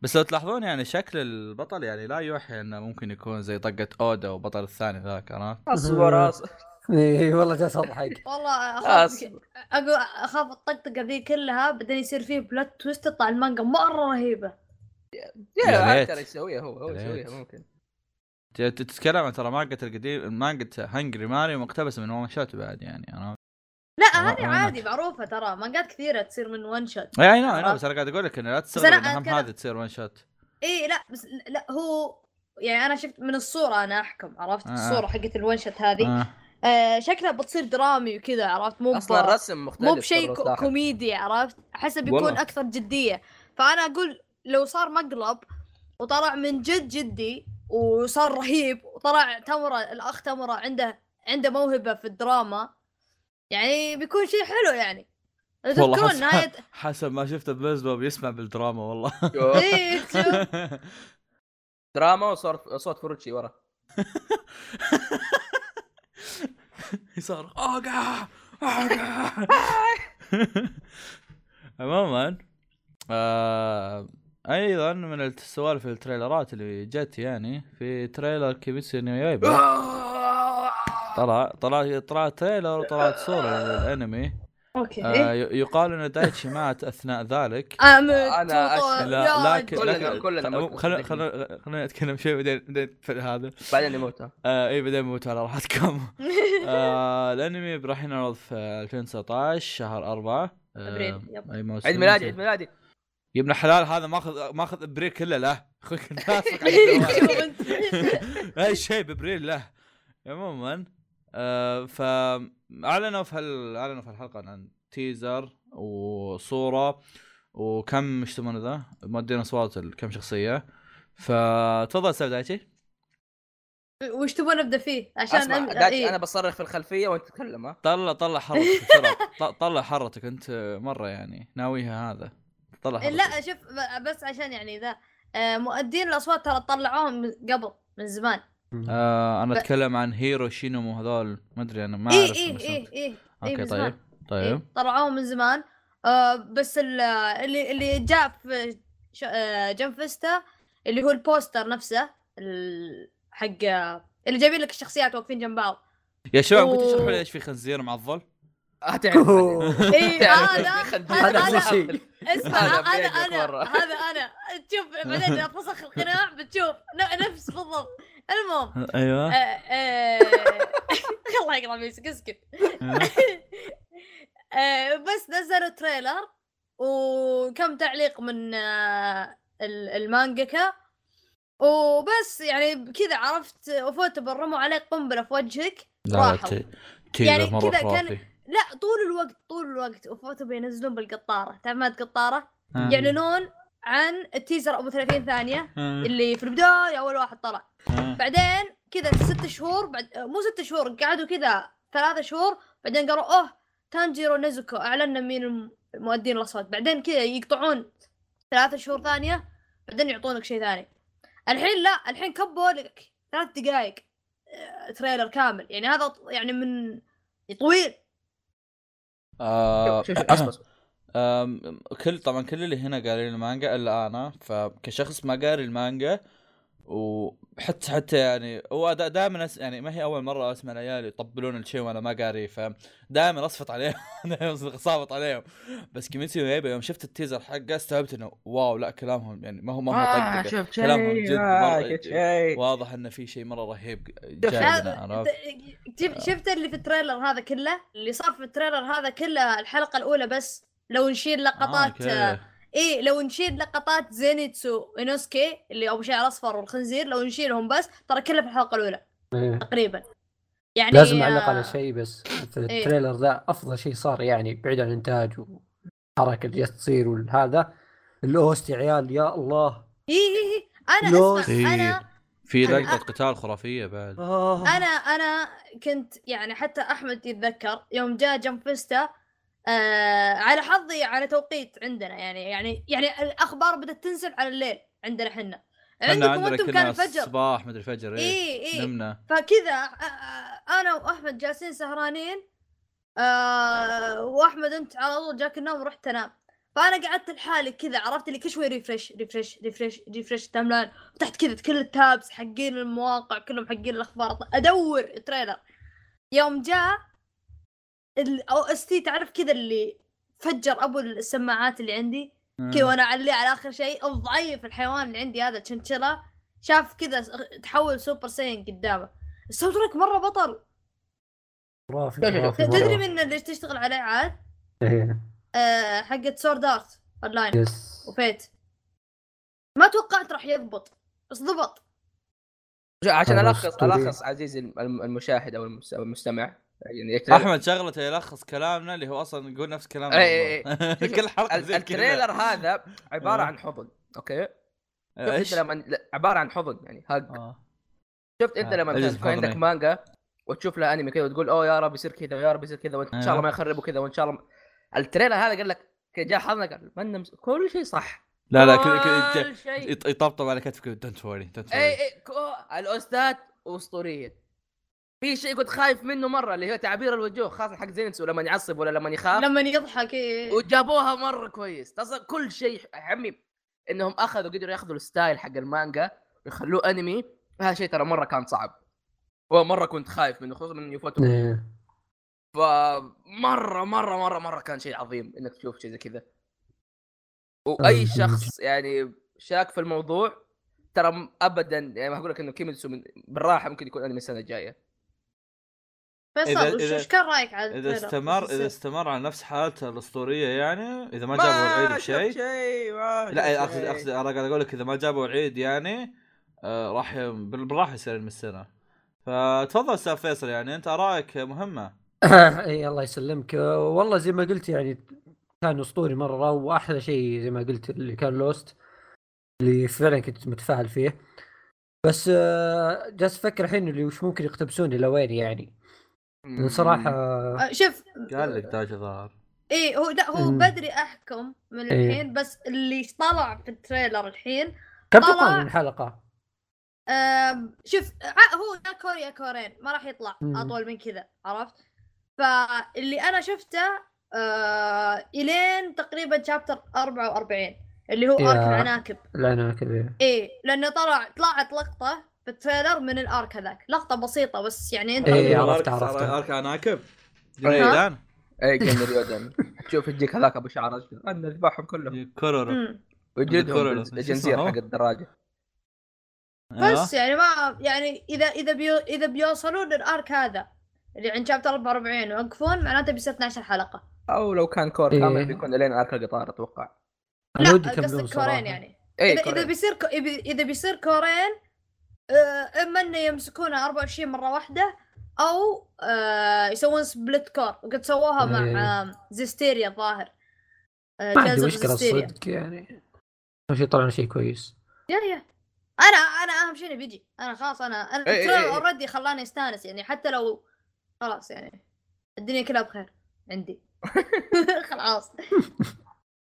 بس لو تلاحظون يعني شكل البطل يعني لا يوحي انه ممكن يكون زي طقه اودا وبطل الثاني ذاك عرفت؟
اصبر اصبر
اي إيه، والله جالس اضحك
*laughs*
والله اخاف
اصبر
اقول اخاف الطقطقه ذي كلها بعدين يصير فيه بلوت تويست تطلع المانجا مره رهيبه
يا
يا عاد
ليت.
ترى يسويها هو هو
يا ليت.
يسويها ممكن
ت- ت- تتكلم عن ترى مانجا القديم مانجا هنجري ماري مقتبسه من وان شوت بعد يعني عرفت؟
لا
والله
هذه
أنا-
عادي معروفه ترى مانجات كثيره تصير من ون شوت
اي اي نو اي نو نعم، بس انا قاعد اقول لك انه لا تستغرب
أنا
ان هم
أتكلم-
هذه تصير وان شوت
اي إيه، لا بس لا هو يعني انا شفت من الصوره انا احكم عرفت
آه.
الصوره حقت الون شوت هذه
آه.
آه شكلها بتصير درامي وكذا عرفت مو
اصلا
ب-
الرسم مختلف
مو بشيء
ترى
كو-
صراحة.
كوميدي عرفت احسه بيكون
والله.
اكثر جديه فانا اقول لو صار مقلب وطلع من جد جدي وصار رهيب وطلع تمره الاخ تمره عنده عنده موهبه في الدراما يعني بيكون شيء حلو يعني لو
والله
تذكرون
حس-
نهايه
حسب ما شفت بلزبه بيسمع بالدراما والله *laughs*
أيوه.
إيه، شوف.
دراما وصوت صوت فروتشي ورا
صار اوقع *laughs* اوقع عموما آه ايضا من السوالف التريلرات اللي جت يعني في تريلر كيميتسو نو يايبا آه. طلع طلع طلع تريلر وطلعت صوره للانمي
اوكي
آه ي- يقال ان دايتشي مات اثناء ذلك
أنا
أنا أشهد.
لا لكن
كلنا-
لكن-
كلنا
طب
موت.
خلنا خلنا خلنا نتكلم شوي بعدين بعدين في هذا
بعدين يموت ها.
آه اي بعدين موت على راحتكم آه الانمي راح ينعرض في 2019 شهر 4
أبريل،
*laughs*
يب.
اي موسم
عيد ميلادي عيد ميلادي
يا ابن حلال هذا ماخذ ماخذ ابريل كله له اخوك الناسخ على الجوال.
شوف أنت.
*laughs* اي شيء بابريل له عموما آه ف اعلنوا في هال... اعلنوا في الحلقه عن تيزر وصوره وكم ايش يسمونه ذا؟ مودين اصوات كم شخصيه فتفضل استاذ دايتشي
*laughs* وش تبون نبدا فيه عشان
اسمع
أم-
دايتشي
إيه.
انا بصرخ في الخلفيه وانت
*laughs*
تتكلم ها
طلع طلع حرتك *laughs* بسرعه ط- طلع حرتك انت مره يعني ناويها هذا طلع حرتك
لا شوف ب- بس عشان يعني ذا آه، مؤدين الاصوات ترى طلعوهم من قبل من زمان
آه انا
ب-
اتكلم عن هيرو شينومو هذول ما ادري انا ما
اي
اعرف
اي
اسمه.
اي اي إيه،
اوكي
من
طيب
زمان.
طيب
طلعوهم من زمان آه، بس ال- اللي اللي جاء في ش- آه، جنفستا اللي هو البوستر نفسه ال- حق اللي جايبين لك الشخصيات واقفين جنب بعض
يا شباب ممكن
أوه.
تشرحوا لي ايش في خنزير معضل؟ أه،
هتعرف
*laughs*
بعدين.
اي
تعرف في خنزير.
هذا
هذا آه، هذا- هذا-
احسن شيء
اسمع
هذا
هذا
بيجي
انا
مرة.
هذا انا تشوف بعدين اذا فسخ القناع بتشوف ن- نفس بالضبط المهم
ايوه
*laughs* آه، آه، الله يقطع فيك اسكت
أيوه.
آه، بس نزلوا تريلر وكم تعليق من آه، ال- المانجاكا وبس يعني كذا عرفت وفوت رموا عليك قنبله في وجهك
لا
راحوا.
لا تيزر
يعني
مره
كذا
كذا
كان-
كان
لا طول الوقت طول الوقت وفوتوا بينزلون بالقطاره تعمد قطاره
آه.
يعلنون عن التيزر ابو 30 ثانيه اللي في البدايه اول واحد طلع آه. بعدين كذا ست شهور بعد مو ست شهور قعدوا كذا ثلاثة شهور بعدين قالوا اوه تانجيرو نزوكو اعلنا مين الم- المؤدين الاصوات بعدين كذا يقطعون ثلاثة شهور ثانية بعدين يعطونك شيء ثاني الحين لا الحين كبوا لك ثلاث دقائق آه، تريلر كامل يعني هذا ط- يعني من طويل
شوف شوف اصبر اصبر.
أم، آه، كل طبعا كل اللي هنا قارين المانجا الا انا فكشخص ما قاري المانجا وحتى حتى يعني هو دائما يعني ما هي اول مره اسمع العيال يطبلون الشيء وانا ما قاري فدائما اصفط عليهم *laughs* دائما اصابط عليهم بس كيميتسو يايبا يوم شفت التيزر حقه استوعبت انه واو لا كلامهم يعني ما هو ما هو
آه،
طقطقه
شفت
كلامهم جد
شيء
مرة-
آه، شفت شيء
واضح انه في شيء مره رهيب
شوف،
جاي
هذا-
لنا، عرفت؟ آه.
شف- شفت اللي في التريلر هذا كله اللي صار في التريلر هذا كله الحلقة الأولى بس لو نشيل لقطات
آه، أوكي.
ايه لو نشيل لقطات زينيتسو انوسكي اللي ابو شعر اصفر والخنزير لو نشيلهم بس ترى كلها في الحلقه الاولى تقريبا يعني
لازم
آه،
اعلق على شيء بس في
إيه.
التريلر ذا افضل شيء صار يعني بعيد عن الانتاج والحركه اللي جالسة تصير والهذا الاوست يا عيال يا الله
اي اي اي انا
لوز.
اسمع انا
في
أنا-
لقطه قتال خرافيه بعد
آه.
انا انا كنت يعني حتى احمد يتذكر يوم جاء جنب فيستا آه على حظي على توقيت عندنا يعني يعني يعني الاخبار بدات تنزل على الليل عندنا احنا
احنا
عندكم
عندنا
انتم كان إيه،
كنا
الفجر
الصباح مدري الفجر ايه
اي اي
نمنا
فكذا آه، آه، انا واحمد جالسين سهرانين آه واحمد انت على طول جاك النوم ورحت تنام فانا قعدت لحالي كذا عرفت اللي كل شوي ريفرش ريفرش ريفرش ريفرش التايم لاين فتحت كذا كل التابس حقين المواقع كلهم حقين الاخبار ادور تريلر يوم جاء الاو اس تي تعرف كذا اللي فجر ابو السماعات اللي عندي كذا
آه.
وانا اعليه على اخر شيء او ضعيف الحيوان اللي عندي هذا تشنشلا شاف كذا تحول سوبر ساين قدامه الساوند تراك مره بطل
خرافي
شوف، شوف،
خرافي
شوف.
تدري
مرة.
من اللي تشتغل عليه عاد
إيه.
آه، حقت سورد ارت اونلاين
يس
وفيت ما توقعت راح يضبط بس ضبط
عشان
هذا
الخص
أسطوري.
الخص عزيزي الم- المشاهد او المس- أو المستمع يعني التريلر-
احمد شغلته يلخص كلامنا اللي هو اصلا يقول نفس كلامنا
إيه،
بالضبط.
شوف، شوف،
*laughs* كل حلقه
ال-
زي كذا.
التريلر هذا عباره
آه.
عن حضن اوكي شفت
ايش
انت لما لا، عباره عن حضن يعني هاج
آه.
شفت انت
آه،
لما
أجلس
مثلا يكون عندك
بحضني.
مانجا وتشوف لها انمي كذا وتقول اوه يا رب يصير كذا ويا رب يصير كذا وان شاء
أيوه.
الله ما يخربوا كذا وان شاء الله ما... التريلر هذا قال لك كذا جاء حضنه قال ما نمس... كل شيء صح
لا لا كذا كذا
كل
إيه.
شيء
يط- يطبطب على كتفك دونت وري دونت
اي اي إيه، كو- الاوستات اسطوريه في شيء كنت خايف منه مره اللي هو تعبير الوجوه خاصه حق زينسو لما يعصب ولا لما
آه.
يخاف
لما يضحك إيه.
وجابوها مره كويس تصل كل شيء يا عمي انهم اخذوا قدروا ياخذوا الستايل حق المانجا ويخلوه انمي هذا شيء ترى مره كان صعب ومره كنت خايف منه خصوصا من يفوتوا
إيه.
فمره مره مره مره كان شيء عظيم انك تشوف شيء زي كذا واي
آه،
شخص يعني شاك في الموضوع ترى م- ابدا يعني ما اقول لك انه كيميتسو من بالراحه ممكن يكون انمي السنه الجايه
إذا-
فيصل وش
إذا-
ايش كان رايك على
اذا
التريلر؟
استمر
وش *laughs*
اذا
يصير؟
استمر على نفس حالته الاسطوريه يعني اذا ما جابوا العيد
شفت
بشيء
شيء ما شفت
لا اقصد
شيء.
اقصد انا قاعد اقول لك اذا ما جابوا العيد يعني آه راح ي- بال- بالراحه يصير من السنه فتفضل استاذ فيصل يعني انت ارائك مهمه
اي الله يسلمك آه، والله زي ما قلت يعني كان اسطوري مره واحلى شيء زي ما قلت اللي كان لوست اللي فعلا كنت متفاعل فيه بس آه، جالس افكر الحين اللي وش ممكن يقتبسون الى وين يعني لأن صراحه آه،
آه، شوف
قال لك تاج الظاهر
ايه هو لا هو
مم.
بدري احكم من
إيه.
الحين بس اللي طلع في التريلر الحين
كم
طلع-
تقال من حلقه؟
آم، شوف ع- هو يا كور يا كورين ما راح يطلع
مم.
اطول من كذا عرفت فاللي انا شفته آه الين تقريبا شابتر 44 اللي هو
يا.
ارك العناكب
لا انا كذا
ايه لانه طلع طلعت لقطه في التريلر من الارك هذاك لقطه بسيطه بس يعني انت
إيه،
إيه.
عرفت، عرفت.
ارك عناكب
ها؟
الان
اي كان اليودن تشوف يجيك هذاك ابو شعر اشقر انا اذبحهم كلهم
كورورو
ويجلدهم
الدكتور
بالز-
شو
الجنزير
اسمه؟
حق الدراجه
أيوه. أيوة.
بس يعني ما يعني اذا اذا بيو اذا بيوصلون للارك هذا اللي عند شابتر 44 ويوقفون معناته بيصير 12 حلقه
او لو كان كور
إيه.
كامل بيكون لين ارك القطار إيه، اتوقع
انا ودي
قصدك
يكملون صراحه
كورين يعني
اي
اذا اذا بيصير كو- إذا- اذا بيصير كورين آه، اما انه يمسكونها 24 مره واحده او آه، يسوون سبلت كور وقد سووها مع
إيه.
آه، زيستيريا الظاهر آه،
ما عندي
جائزة
مشكله
زيستيريا.
الصدق يعني اهم شيء طلعنا شيء كويس
يا يا انا انا اهم شيء إنه بيجي انا خلاص انا انا
إيه، إيه، إيه.
اوريدي خلاني استانس يعني حتى لو خلاص يعني الدنيا كلها بخير عندي *laughs* خلاص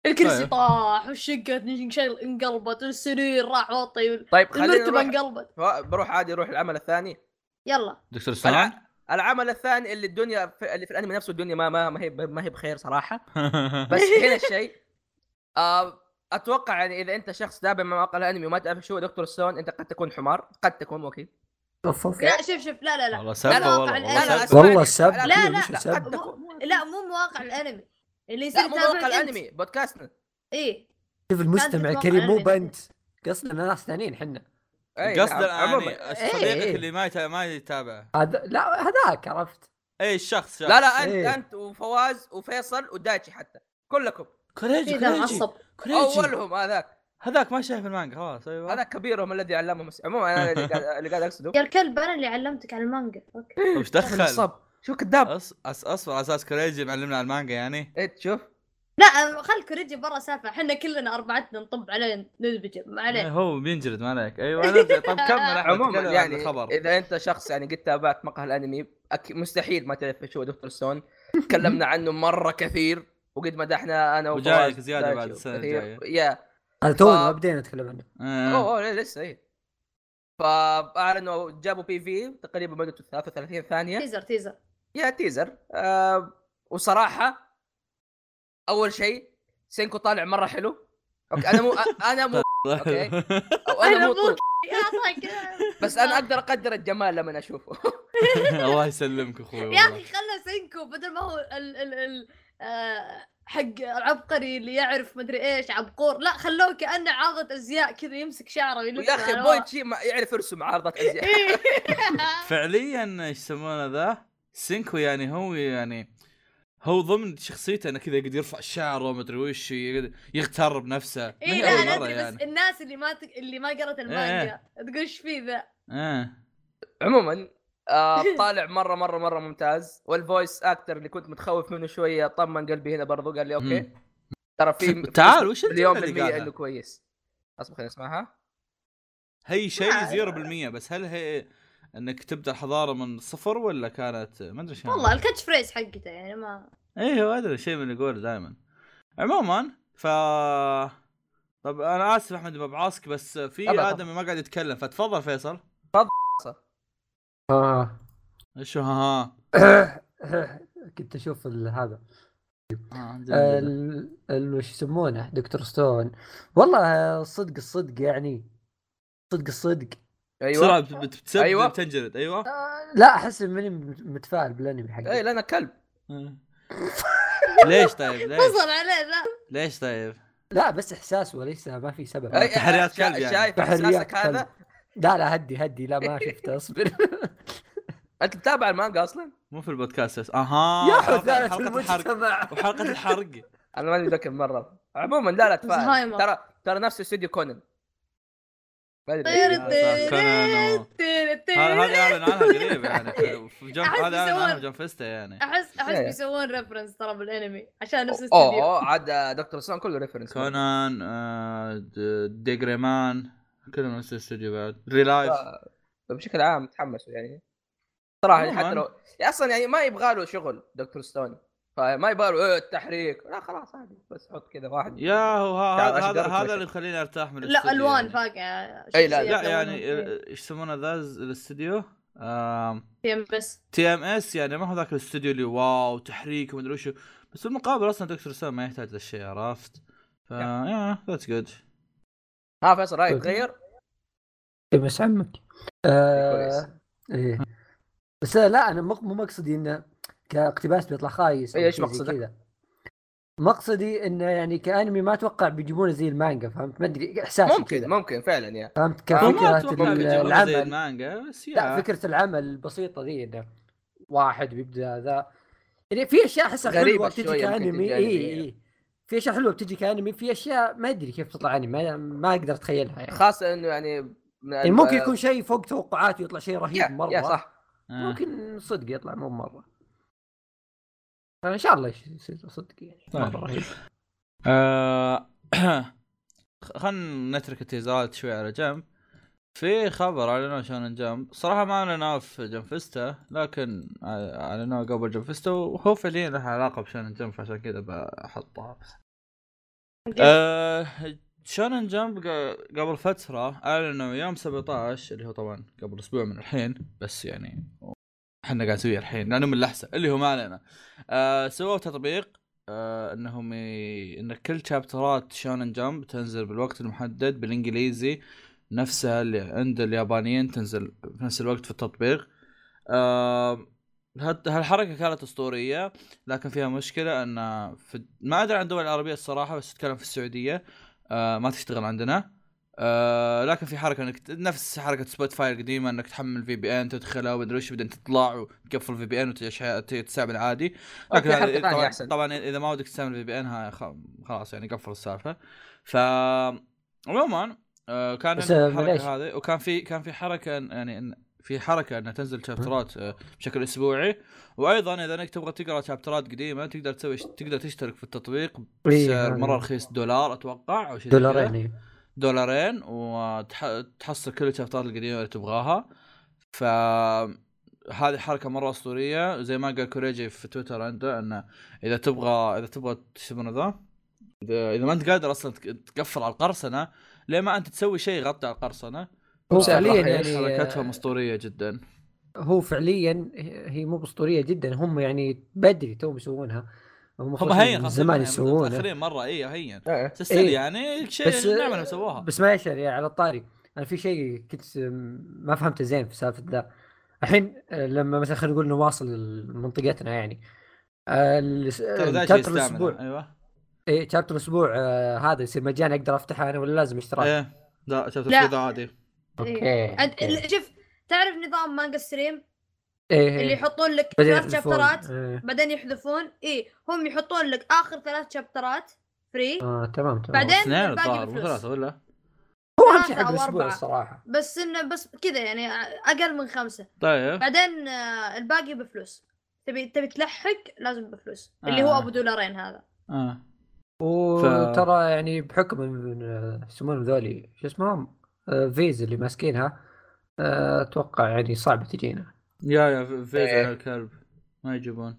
الكرسي
طيب.
طاح والشقة انشل- انقلبت والسرير راح وطي
طيب خلينا
المرتبة
نروح
انقلبت
ف- بروح عادي روح العمل الثاني
يلا
دكتور سنان *laughs*
الع- العمل الثاني اللي الدنيا في... اللي في الانمي نفسه الدنيا ما ما, ما هي ما هي بخير صراحه
*laughs*
بس هنا الشيء آه، اتوقع يعني اذا انت شخص تابع مواقع الانمي وما تعرف شو هو دكتور ستون انت قد تكون حمار قد تكون مو اكيد
اوف اوف
لا شوف شوف لا لا لا
والله سبه
مواقع
والله والله
الآن. لا، لا،
سبه.
والله
اسمعني.
سب.
لا، لا،
مش
لا
سب.
قد تكون
لا مو مواقع الانمي اللي يصير
لا مو مواقع
يتابعك أنت.
الانمي بودكاستنا
ايه
شوف المستمع
كانت
الكريم مو
تتوقع أنا
بنت قصدنا ناس ثانيين احنا
أي،
قصدا
نعم، عموماً.
يعني
إيه.
صديقك اللي ما يتا- ما يتابع
هذا لا هذاك عرفت
اي الشخص
لا لا انت
إيه.
انت وفواز وفيصل ودايتشي حتى كلكم
كوريجي
في ذا
كوريجي
معصب
كوريجي
اولهم هذاك
هذاك ما شايف المانجا خلاص ايوه
هذاك كبيرهم الذي علمهم الس- عموما انا اللي قاعد *laughs* اللي قاعد اقصده
يا الكلب انا اللي علمتك على المانجا اوكي
وش طيب، دخل؟
نصاب شو كذاب
أص- أص- اصبر على اساس كوريجي معلمنا على المانجا يعني
ايه تشوف
لا خل كوريجي برا سافة احنا كلنا اربعتنا نطب عليه نذبجه ما
إيه،
عليه
هو بينجلد ما عليك ايوه أنا أدري. طيب كمل احمد
عموما
تكلم عن
يعني
الخبر
اذا انت شخص يعني قد تابعت مقهى الانمي أك... مستحيل ما تعرف ايش هو دكتور ستون *laughs* تكلمنا عنه مره كثير وقد مدحنا انا وفواز
وجايك زيادة بعد
دايتشي
السنة
وكثير.
الجاية.
يا
هذا تونا
آه.
ما بدينا نتكلم عنه
آه.
اوه أوه، لا، لسه ايه فاعلنوا جابوا بي في تقريبا مدته 33 ثانيه
تيزر تيزر
يا تيزر آه وصراحه اول شيء سينكو طالع مره حلو اوكي انا مو أ-
*laughs*
انا مو أوكي. أو انا مو طول
*laughs* يا طاق
*laughs* بس انا اقدر اقدر الجمال لما اشوفه
الله يسلمك اخوي
يا اخي
والله.
خلى سينكو بدل ما هو ال ال ال آه، حق العبقري اللي يعرف مدري ايش عبقور لا خلوه كانه عاضد ازياء كذا يمسك شعره
*laughs* ويا اخي بويتشي ما يعرف يرسم عارضه ازياء
إيه. *laughs*
فعليا ايش يسمونه ذا سينكو يعني هو يعني هو ضمن شخصيته انه كذا يقدر يرفع شعره ومدري وش يقدر- يغتر بنفسه
اي
من
إيه، لا
أول
انا
مرة يعني. إيه،
ادري بس الناس اللي ما تك... اللي ما قرت المانجا تقول ايش في ذا
آه.
عموما آه طالع مره مره مره ممتاز والفويس اكتر اللي كنت متخوف منه شويه طمن قلبي هنا برضو قال لي اوكي
مم.
ترى
*laughs*
في
تعال وش
اليوم
الجملة اللي
بالمية
قالها؟
انه كويس اصبر خليني اسمعها
هي شيء
ما-
0% بس هل هي انك تبدا الحضاره من صفر ولا كانت ما ادري شلون
والله الكاتش فريز حقته يعني ما
ايوه ادري شيء من اللي يقول دائما عموما ف طب انا اسف احمد ببعاصك بس في
أبدا.
ادمي ما قاعد يتكلم فتفضل فيصل
آه.
ايش هو ها
*coughs* كنت اشوف ال- هذا
ها
آه،
ها
ال- ال- وش يسمونه دكتور ستون والله آه، صدق الصدق يعني صدق الصدق
بسرعه
ايوه
بت- بت- بتسبب
أيوة.
أيوة. بتنجلد ايوه
آه، لا احس ماني مت- متفاعل بالانمي
اي
حقه
لنا إيه، كلب
آه. ليش طيب ليش
فصل عليه لا
ليش طيب
لا بس احساس وليس ما في سبب
أي-
تحريات
شا-
كلب يعني.
شايف
تحريات
احساسك
كلب.
هذا
لا لا هدي هدي لا ما
*laughs*
شفت اصبر
انت متابع المانجا اصلا
مو في البودكاست بس اها
يا
آه، حلقة-
حثالة
حلقه الحرق
المجتمع
وحلقه الحرق
انا ماني متذكر مره عموما لا لا تفاعل
زهايمر.
ترى ترى نفس استوديو كونن ما ادري
طير
ليش.
آه، صح، كونان و-
تيري
آه. هذا
تيري
هذا اعلن عنها قريب يعني في جنب
أحس
هذا اعلن عنها
بيسوون.
جنب فيستا يعني
احس احس
إيه.
بيسوون ريفرنس ترى بالانمي عشان
اوه
نفس الاستوديو
أوه، عاد آه، دكتور سون كله ريفرنس
كونان آه، د- ديجريمان كلهم نفس الاستوديو بعد ريلايف
آه. بشكل عام تحمسوا يعني صراحه يعني
عموماً.
حتى لو يعني اصلا يعني ما يبغى له شغل دكتور ستون فما يبغى له إيه التحريك لا خلاص عادي بس حط كذا واحد
يا هو ه-
تعال،
هذا
أشقرك
هذا هذا
وشك.
اللي يخليني ارتاح من
لا
الاستوديو
الوان
يعني.
فاقعه
إي، لا،
لا يعني آه، ايش يسمونه ذا ز- الاستوديو؟
بس
تي ام اس يعني ما هو ذاك الاستوديو اللي واو تحريك ومدري وشو بس بالمقابل اصلا دكتور سام ما يحتاج ذا الشيء عرفت؟ ف يا ذاتس جود
ها فيصل رايك تغير
بس عمك
كويس.
آه ايه بس لا انا مق- مو مقصدي انه كاقتباس بيطلع خايس أو
إيه، إيش
شيء زي
مقصدك؟
كذا. مقصدي انه يعني كانمي ما اتوقع بيجيبونه زي المانجا فهمت ما ادري احساسي
ممكن
كذا.
ممكن فعلا يا
فهمت
ما
كفكره
اتوقع
ال-
بيجيبونه زي
العمل
المانجا بس
لا
يا
فكره العمل البسيطه ذي انه واحد بيبدا ذا يعني في اشياء احسها
غريبة
حلوه بتجي
شوية ممكن
كانمي
تجي
اي
أنمي،
اي في اشياء حلوه بتجي كانمي في اشياء ما ادري كيف تطلع انمي ما, ما اقدر اتخيلها يعني.
خاصه انه يعني من
يعني ممكن يكون شيء فوق توقعاتي ويطلع شيء رهيب
يا,
مره
يا صح
آه.
ممكن صدق يطلع مو مره فان شاء الله يصير صدق يعني
طيب.
مره رهيب
آه، خلنا نترك التيزرات شوي على جنب في خبر اعلنوه شونن جمب صراحه ما اعلنوه في جنفستا لكن اعلنوه قبل جنفستا وهو فعليا له علاقه بشونن جمب فعشان كذا بحطها آه شونن جمب ق- قبل فتره اعلنوا يوم 17 اللي هو طبعا قبل اسبوع من الحين بس يعني احنا قاعد نسويه الحين لانه من اللحسه اللي هو ما علينا آه سووا تطبيق آه انهم ي... ان كل شابترات شونن جمب تنزل بالوقت المحدد بالانجليزي نفسها اللي عند اليابانيين تنزل في نفس الوقت في التطبيق آه هت- هالحركه كانت اسطوريه لكن فيها مشكله ان في... ما ادري عن الدول العربيه الصراحه بس اتكلم في السعوديه آه ما تشتغل عندنا آه لكن في حركه انك ت- نفس حركه سبوتفاي القديمه انك تحمل في بي ان تدخله ومدري وش بعدين تطلع وتقفل في بي ان وتستعمل عادي لكن
أوكي،
هذا
حركة ثانية
طبعا,
أحسن.
طبعا اذا ما ودك تستعمل في بي ان خلاص يعني قفل السالفه ف عموما آه، كان
بس،
عندنا
معليش.
الحركه هذه وكان في كان في حركه إن- يعني إن في حركه انها تنزل شابترات آه، بشكل اسبوعي وايضا اذا انك تبغى تقرا شابترات قديمه تقدر تسوي تقدر تشترك في التطبيق
إيه،
بسعر
هذا.
مره رخيص دولار اتوقع او شيء زي كذا.
دولارين إيه.
دولارين وتحصل كل الشابترات القديمه اللي تبغاها ف هذه حركه مره اسطوريه زي ما قال كوريجي في تويتر عنده انه اذا تبغى اذا تبغى شو اسمه ذا اذا إذا ما انت قادر اصلا تك- تقفل على القرصنه ليه ما انت تسوي شيء يغطي على القرصنه
هو
بسعر
فعليا
رخيص.
يعني
حركتها مسطوريه جدا
هو فعليا هي مو باسطوريه جدا هم يعني بدري توم يسوونها هم
هم
خلاص
هين
من
خاصة يعني،
زمان
إنها
يسوونها
متاخرين مره اي هين
إيه.
سلسله
إيه.
يعني
بس-
شيء نعمه لو سووها
بس ما يشعر يعني على الطاري انا في شيء كنت ما فهمته زين في سالفه ذا الحين آه، لما مثلا خلينا نقول انه واصل لمنطقتنا يعني ال- آه،
ترى ذا شيء
شابتر
يستعمل
الاسبوع
ايوه
اي شابتر الاسبوع إيه، آه، هذا يصير مجاني اقدر افتحه انا ولا لازم اشتراك؟
ايه لا شفت
لا.
ذا عادي
اوكي
عاد-
أوكي.
إيه. ال- شوف تعرف نظام مانجا ستريم
إيه،
اللي
إيه.
يحطون لك
بعدين
ثلاث
يحذفون.
شابترات
إيه.
بعدين يحذفون اي هم يحطون لك اخر ثلاث شابترات فري
آه.
اه تمام تمام
بعدين
اثنين
الباقي
الظاهر مو
بفلوس
ثلاثه ولا
هو اهم شيء
ثلاثة
حق
أو
الاسبوع
أربعة.
الصراحه
بس انه بس كذا يعني اقل من خمسه
طيب
بعدين آه، الباقي بفلوس تبي تبي تلحق لازم بفلوس اللي هو
آه.
ابو دولارين هذا
آه.
اه
وترى يعني بحكم من يسمون ذولي شو اسمهم آه، فيز اللي ماسكينها آه، اتوقع يعني صعب تجينا
يا يا في- فيزا
إيه.
على الكلب ما يجيبون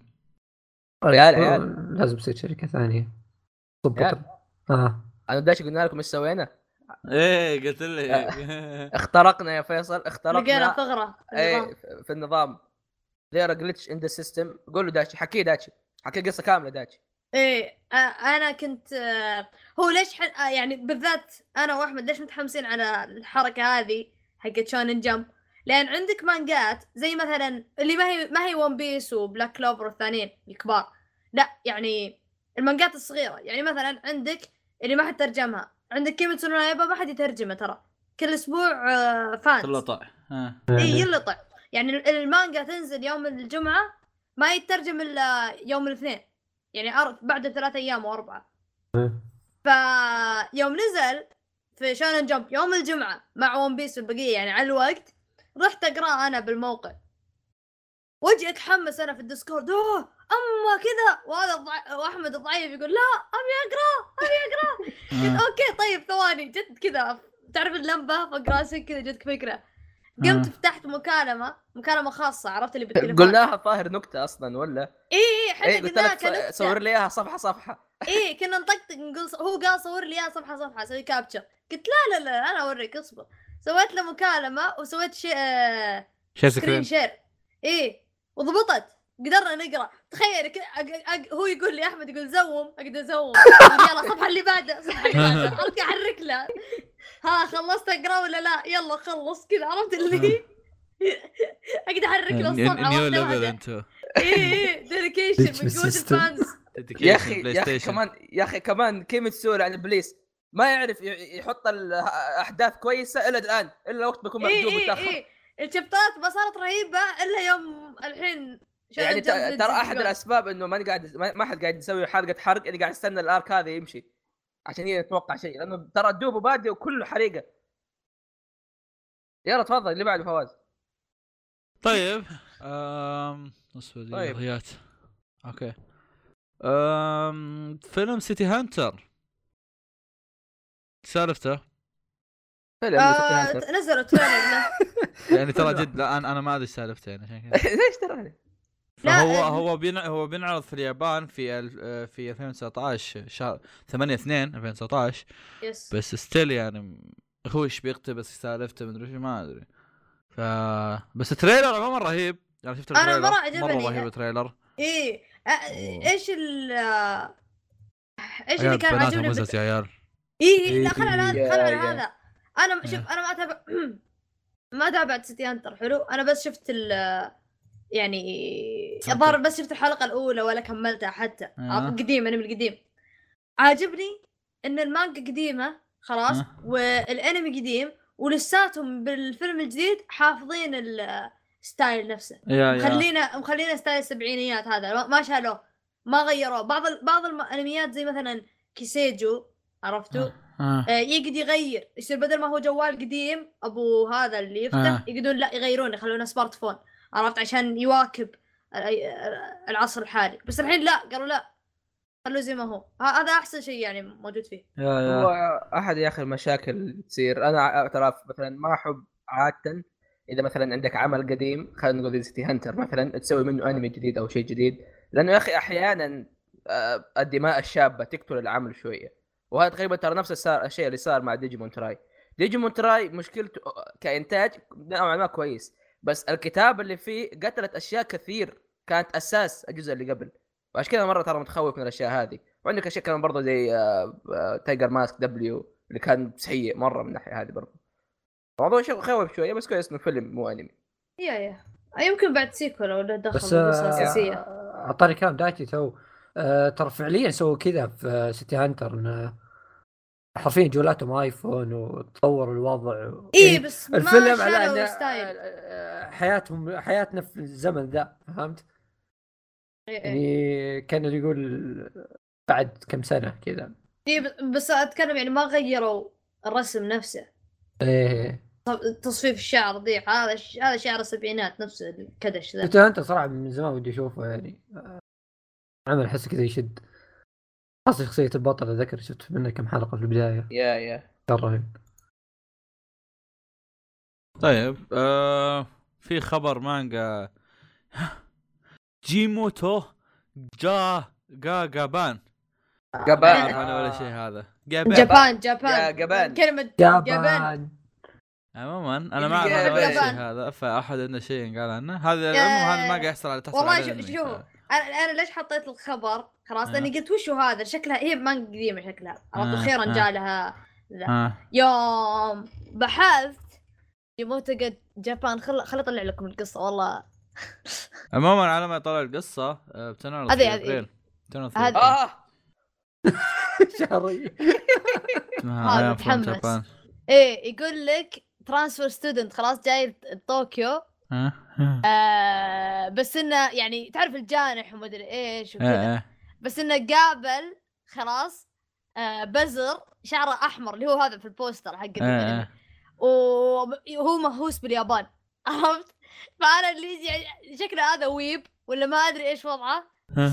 ريال
أه.
عيال
آه، لازم تصير شركه ثانيه
عيال.
تضبط اه
انا بداش قلنا لكم ايش سوينا
إيه،
ايه قلت لك
آه.
*laughs*
اخترقنا يا فيصل
لقينا
اخترقنا
ثغره في النظام.
اي إيه، في النظام ذير جلتش ان ذا سيستم قول له داشي حكيه داشي حكي قصه كامله داشي
ايه آه، انا كنت آه، هو ليش ح... آه، يعني بالذات انا واحمد ليش متحمسين على الحركه هذه حقت شونن جمب لان عندك مانجات زي مثلا اللي ما هي ما هي ون بيس وبلاك كلوفر والثانيين الكبار لا يعني المانجات الصغيره يعني مثلا عندك اللي ما حد ترجمها عندك كيميتسو نو يايبا ما حد يترجمه ترى كل اسبوع آه، فانز
تلطع
آه.
ها
اي يلطع إيه، يعني ال- المانجا تنزل يوم الجمعة ما يترجم الا يوم الاثنين يعني أر- بعد ثلاث ايام واربعة ف يوم نزل في شانن جمب يوم الجمعة مع ون بيس والبقية يعني على الوقت رحت اقراه انا بالموقع وجهي اتحمس انا في الديسكورد اوه اما كذا وهذا الضع... واحمد الضعيف يقول لا ابي اقراه
آه.
اوكي طيب ثواني جد كذا تعرف اللمبة فوق راسك كذا جدك فكرة قمت
آه.
فتحت مكالمة مكالمة خاصة عرفت اللي بالتليفون
قلناها الظاهر نكته اصلا ولا
اي اي
اي
حتى
إيه، قلت
قلناها
لك
كنكتة
ص- صور لي اياها صفحه صفحه
اي كنا نطقطق نقول هو قال صور لي اياها صفحة صفحة سوي كابتشر قلت لا لا لا انا اوريك اصبر سويت له مكالمة وسويت شيء آه،
شير سكرين
سكرين شير اي وضبطت قدرنا نقرا تخيل ك- أق- أق- هو يقول لي احمد يقول زوم اقدر ازوم أقول *laughs* يلا الصفحه اللي بعدها الصفحه اللي بعدها ارجع احرك له ها خلصت اقرا ولا لا يلا خلص كذا عرفت اللي *laughs* اقدر احرك له الصفحه
نيو
واحده
ليفل
واحده
انتو
اي اي ديديكيشن
Teach me
من قوه
system.
الفانز
*laughs* يا اخي يا اخي كمان يا اخي كمان كيميتسو عن ابليس ما يعرف ي- يحط الاحداث كويسه الا الان الا وقت بيكون
اي
محجوب
اي
متاخر
اي الشبتات ما صارت رهيبه الا يوم الحين شلون
يعني
جاب
ت-
Dead
ترى
Zone
احد
Girl.
الاسباب انه ما قاعد ما ما حد قاعد يسوي حلقه حرق اللي قاعد يستنى الارك هذا يمشي عشان يتوقع شيء لانه ترى دوبه بادي وكله حريقه يلا تفضل اللي بعده فواز
طيب آم، اصبر دقيقة،
طيب.
ضيعت اوكي آم، فيلم سيتي هانتر سالفته *laughs*
فيلم
*laughs* آه،
City Hunter.
نزلوا تريلر له.
يعني ترى جد لا انا انا ما ادري سالفته يعني عشان كذا
*laughs* ليش ترى
لا،
فهو
آه،
هو بين هو بينعرض في اليابان في ال- آه، في 2019 شهر 8 2 2019
يس
بس ستيل يعني م- هو ايش بيقتبس سالفته مدري ايش ما ادري ف بس التريلر عموما رهيب يعني شفت
أنا
التريلر
مرة عجبني.
مره رهيب التريلر
ايه آه، ايش ال آه، ايش اللي
عيال
كان
بناتهم
عاجبني
مزز
بت-
يا عيال
ايه إيه،
إيه، آه.
لا خل على هذا
يا-
خل على
يا.
هذا انا شوف انا ما اتابع *clears throat* ما تابعت سيتي هانتر حلو انا بس شفت ال يعني
Hunter.
الظاهر بس شفت الحلقه الاولى ولا كملتها حتى
آه.
قديم انا من القديم عاجبني ان المانجا قديمه خلاص
آه.
أه.
والانمي قديم ولساتهم بالفيلم الجديد حافظين الستايل نفسه
آه.
يا يا
مخلينا مخلينا ستايل السبعينيات هذا ما- ما شالوه ما غيروه بعض ال- بعض الانميات زي مثلا كيسيجو عرفتوا
آه.
آه، يقعد يغير يصير بدل ما هو جوال قديم ابو هذا اللي يفتح
آه.
آه. يقعدون لا يغيرونه يخلونه سمارت فون عرفت عشان يواكب ال- ال- العصر الحالي بس الحين لا قالوا لا خلوه زي ما هو ه- هذا احسن شيء يعني موجود فيه
يا يا
هو احد يا اخي المشاكل اللي تصير انا ع- ترى مثلا ما احب عاده اذا مثلا عندك عمل قديم خلينا نقول سيتي هانتر مثلا تسوي منه انمي جديد او شيء جديد لانه يا اخي احيانا آه، الدماء الشابه تقتل العمل شويه وهذا تقريبا ترى نفس السا- الشيء اللي صار مع ديجيمون تراي ديجيمون تراي مشكلته كانتاج نوعا ما كويس بس الكتاب اللي فيه قتلت اشياء كثير كانت اساس الجزء اللي قبل وعشان كذا مره ترى متخوف من الاشياء هذه وعندك اشياء كمان برضه زي آه، آه، تايجر ماسك دبليو اللي كان سيء مره من الناحيه هذه برضه الموضوع شو خوف شويه بس كويس انه فيلم مو انمي
يا يا آه، يمكن بعد سيكول او له دخل
بس
بالقصه
آه،
الاساسيه
آه، على طاري كلام دايتي تو آه، ترى فعليا سووا كذا في آه، سيتي هانتر إنه حرفيا جولاتهم ايفون وتطور الوضع و...
اي إيه، بس ما
الفيلم على
شالوا
إنه،
ستايل
آه، آه، حياتهم حياتنا في الزمن ذا فهمت؟
إيه،
يعني كان اللي يقول بعد كم سنه كذا
اي إيه، بس اتكلم يعني ما غيروا الرسم نفسه
ايه
تص- تصفيف الشعر ذي هذا الش- هذا شعر السبعينات نفس الكدش ذا
انت انت صراحه من زمان ودي اشوفه يعني آه، عمل احس كذا يشد خاصه شخصيه البطل اذكر شفت منه كم حلقه في البدايه
يا يا
كان رهيب
طيب آه في خبر مانجا جيموتو جا جا جابان
آه،
ما اعرف
قبان
انا ولا شيء هذا جابان
جابان
يا
جابان
جبان.
كلمة جابان
جابان
عموما
يعني
انا ما اعرف انا ولا شيء هذا فاحد عنده شيء قال عنه هذا
يا-
هذا ما قاعد يحصل على تحصل
والله
على
شوف-
الأنمي.
شوف. انا انا ليش حطيت الخبر خلاص
آه.
لاني قلت وشو هذا شكلها هي مانجا قديمة شكلها
آه،
عرفت
آه.
اخيرا جالها
آه.
يوم بحثت يموت جابان خل خل اطلع لكم القصة والله
عموما على ما طلع القصه آه، بتنعرض
هذه-
في
هذه.
ابريل بتنعرض في
هذه.
أبريل.
اه
*laughs* شهري
اسمها
هذا
I am from
متحمس.
Japan.
ايه يقول لك ترانسفير ستودنت خلاص جاي طوكيو
آه، آه.
آه بس انه يعني تعرف الجانح ومدري ايش وكذا
آه، آه.
بس انه قابل خلاص آه بزر شعره احمر اللي هو هذا في البوستر حق
آه، آه.
الانمي وهو مهووس باليابان *laughs* عرفت؟ فانا اللي يعني شكله هذا ويب ولا ما ادري ايش وضعه
آه.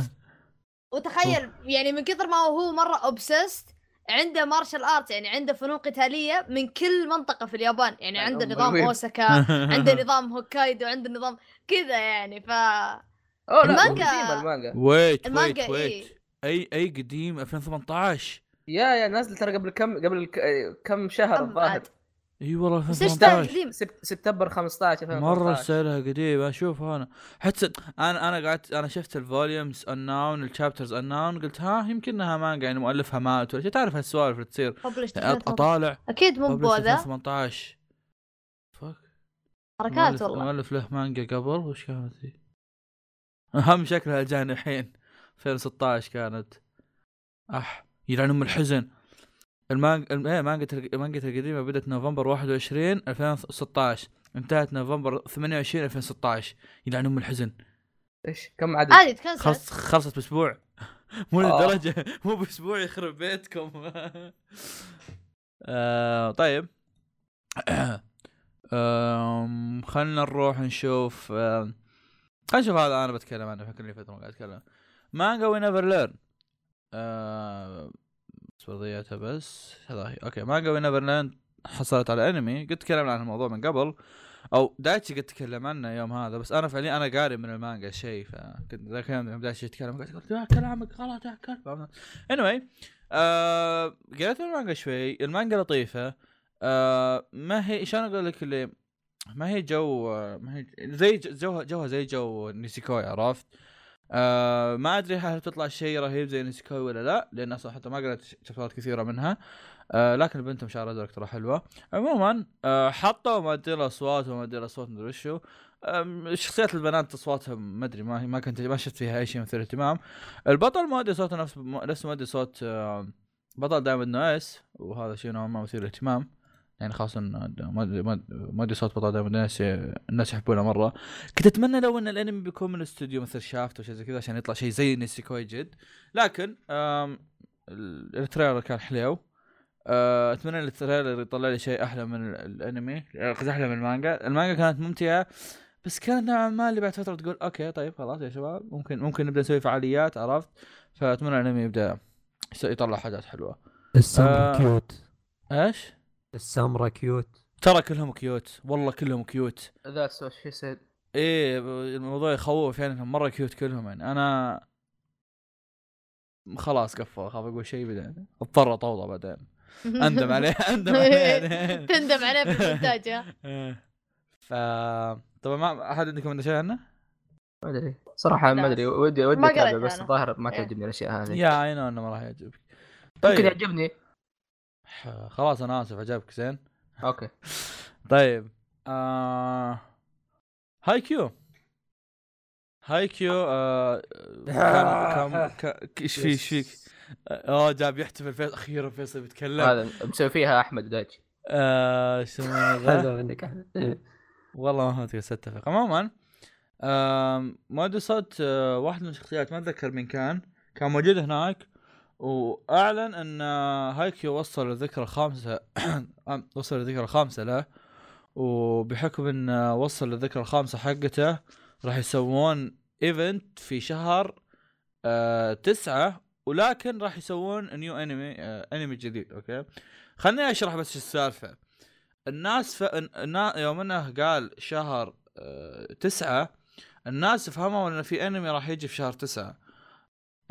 وتخيل يعني من كثر ما هو مره اوبسست عنده مارشال ارت يعني عنده فنون قتاليه من كل منطقه في اليابان يعني
يا
عنده
أم
نظام
الويب.
آه،
اوساكا عنده نظام هوكايدو عنده نظام كذا يعني ف
اوه آه، لا
المانجا.
قديمة المانجا
ويت ويت
المانجا
ويت
إيه.
اي اي قديم 2018
يا يا نازل ترى قبل كم قبل ك- كم شهر
أم
*laughs*
الظاهر
عاد.
اي والله
بس ايش ده
2018
قديم
سب- سبتمبر 15
مره
2015.
سعرها قديم اشوف انا حتى انا انا قعدت انا شفت الفوليومز اناون الشابترز اناون قلت ها يمكن انها مانجا يعني مؤلفها مات ولا شيء تعرف هالسوالف اللي تصير
published
أط- اطالع
اكيد مو
published
بوذا
2018 فك
حركات
مؤلف-
والله
مؤلف له مانجا قبل وش كانت *laughs* ذي؟ اهم شكلها جانحين 2016 كانت اح يلعن ام الحزن إيه، المانجا مانجا المانجا القديمه بدات نوفمبر 21 2016 انتهت نوفمبر 28 2016 يلعن ام الحزن
ايش كم عدد؟
عادي تكنسل
خلص خلصت باسبوع *laughs* مو
آه.
للدرجه مو باسبوع يخرب بيتكم آه طيب *coughs* آم، خلنا نروح نشوف آم، خلنا نشوف هذا انا بتكلم عنه فكرني فتره ما قاعد اتكلم مانجا وي نيفر ليرن آه، بس ضيعتها بس هذا هي. اوكي مانجا وي نيفر ليرن حصلت على انمي قد تكلمنا عن الموضوع من قبل او دايتشي قد تكلم عنه يوم هذا بس انا فعليا انا قاري من المانجا شيء فكنت ذاك اليوم يوم دايتشي يتكلم قلت قلت "آه، كلامك غلط يا كلب anyway آه قريت المانجا شوي المانجا لطيفه آه ما هي شلون اقول لك اللي ما هي جو آه، ما هي زي ج- جوها جوها زي جو نيسيكوي عرفت آه ما ادري هل تطلع شيء رهيب زي نيسيكوي ولا لا لان اصلا حتى ما قريت شابترات كثيره منها آه لكن بنتهم شعر ازرق ترى حلوه عموما آه حطوا ما ادري الاصوات وما ادري الاصوات ما ادري وشو آم، شخصيات البنات اصواتها ما ادري ما هي ما كنت ما شفت فيها اي شيء مثير اهتمام البطل ما ادري صوته نفس نفس ما ادري صوت آه بطل دايموند نايس وهذا شيء نوعا ما مثير للاهتمام يعني خاصة إنه ما- ما ما ادري صوت بطل دايموند نايس الناس يحبونه مرة كنت اتمنى لو ان الانمي بيكون من استوديو مثل شافت او شيء زي كذا عشان يطلع شيء زي نيسيكوي جد لكن آم، ال- التريلر كان حلو آه، اتمنى ان التريلر يطلع لي شيء احلى من ال- الانمي قصدي احلى من المانجا المانجا كانت ممتعه بس كانت نوعا ما اللي بعد فتره تقول اوكي طيب خلاص يا شباب ممكن ممكن نبدا نسوي فعاليات عرفت فاتمنى الانمي يبدا يس- يطلع حاجات حلوه
السامرا
آه.
كيوت
ايش
السامرا كيوت
ترى كلهم كيوت والله كلهم كيوت
ذاتس وات شي سيد
ايه ب- الموضوع يخوف يعني انهم مره كيوت كلهم يعني انا خلاص قفوا اخاف اقول شيء بعدين اضطر اطوضه بعدين
*laughs*
اندم
*laughs*
عليه اندم عليه بعدين.
إيه، تندم عليه
*laughs*
في آه. المونتاج ها؟
إيه. ف طبعا ما احد عندكم عنده شيء عنه؟
ما ادري صراحه ما
لا.
ادري ودي ودي
ما قريت
اتابع بس
أنا.
الظاهر ما
إيه.
تعجبني الاشياء هذه
يا اي نو انه ما راح يعجبك
ممكن
طيب
يعجبني
خلاص انا اسف عجبك زين
اوكي
طيب آه... هاي كيو هاي كيو آه... كان كان كان- ايش في
*laughs*
ايش فيك؟ اه جاب يحتفل فيصل اخيرا فيصل بيتكلم
هذا مسوي فيها احمد دايتش
آه، ايش يسمونه ذا؟
هذا منك أحمد. إيه.
والله ما كنت اتفق عموما آم، مؤدي صوت آه، واحد من الشخصيات ما اتذكر مين كان كان موجود هناك واعلن ان آه، هايكيو وصل الذكرى الخامسه آم، *coughs* وصل الذكرى الخامسه له وبحكم ان آه، وصل الذكرى الخامسه حقته راح يسوون ايفنت في شهر آه، تسعة ولكن راح يسوون نيو انمي آه، انمي جديد اوكي خليني اشرح بس شو السالفه الناس ف... النا... يوم انه قال شهر آه، تسعة الناس فهموا انه في انمي راح يجي في شهر تسعة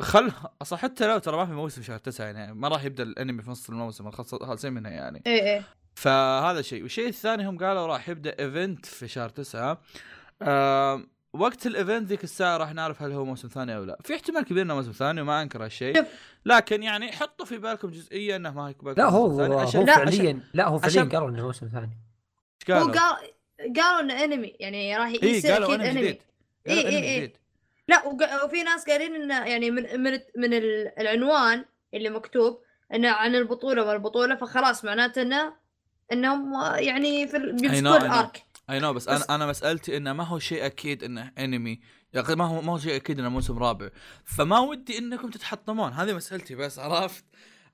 خل اصلا حتى لو ترى ما في موسم شهر تسعة يعني ما راح يبدا الانمي في نص الموسم خلص- خالصين منها يعني
ايه ايه
فهذا شيء والشيء الثاني هم قالوا راح يبدا ايفنت في شهر تسعة آه وقت الايفنت ذيك الساعه راح نعرف هل هو موسم ثاني او لا في احتمال كبير انه موسم ثاني وما انكر هالشيء
شوف.
لكن يعني حطوا في بالكم جزئيه انه ما يكون
لا هو
موسم ثاني.
هو
عشان-
فعليا لا هو فعليا
عشان-
قالوا انه موسم ثاني
إيش
هو
قالوا؟
قال قالوا انه انمي يعني راح
اي
يصير
قالوا
اكيد
انمي
انمي
جديد قالوا
إيه، إيه،
انمي
إيه.
جديد
لا وق- وفي ناس قالين انه يعني من من من ال- العنوان اللي مكتوب انه عن البطوله والبطوله فخلاص معناته انه انهم يعني في ال-
I
بيمسكون
know.
الارك
اي نو بس انا انا مسالتي انه ما هو شيء اكيد انه انمي يعني ما هو ما هو شيء اكيد انه موسم رابع فما ودي انكم تتحطمون هذه مسالتي بس عرفت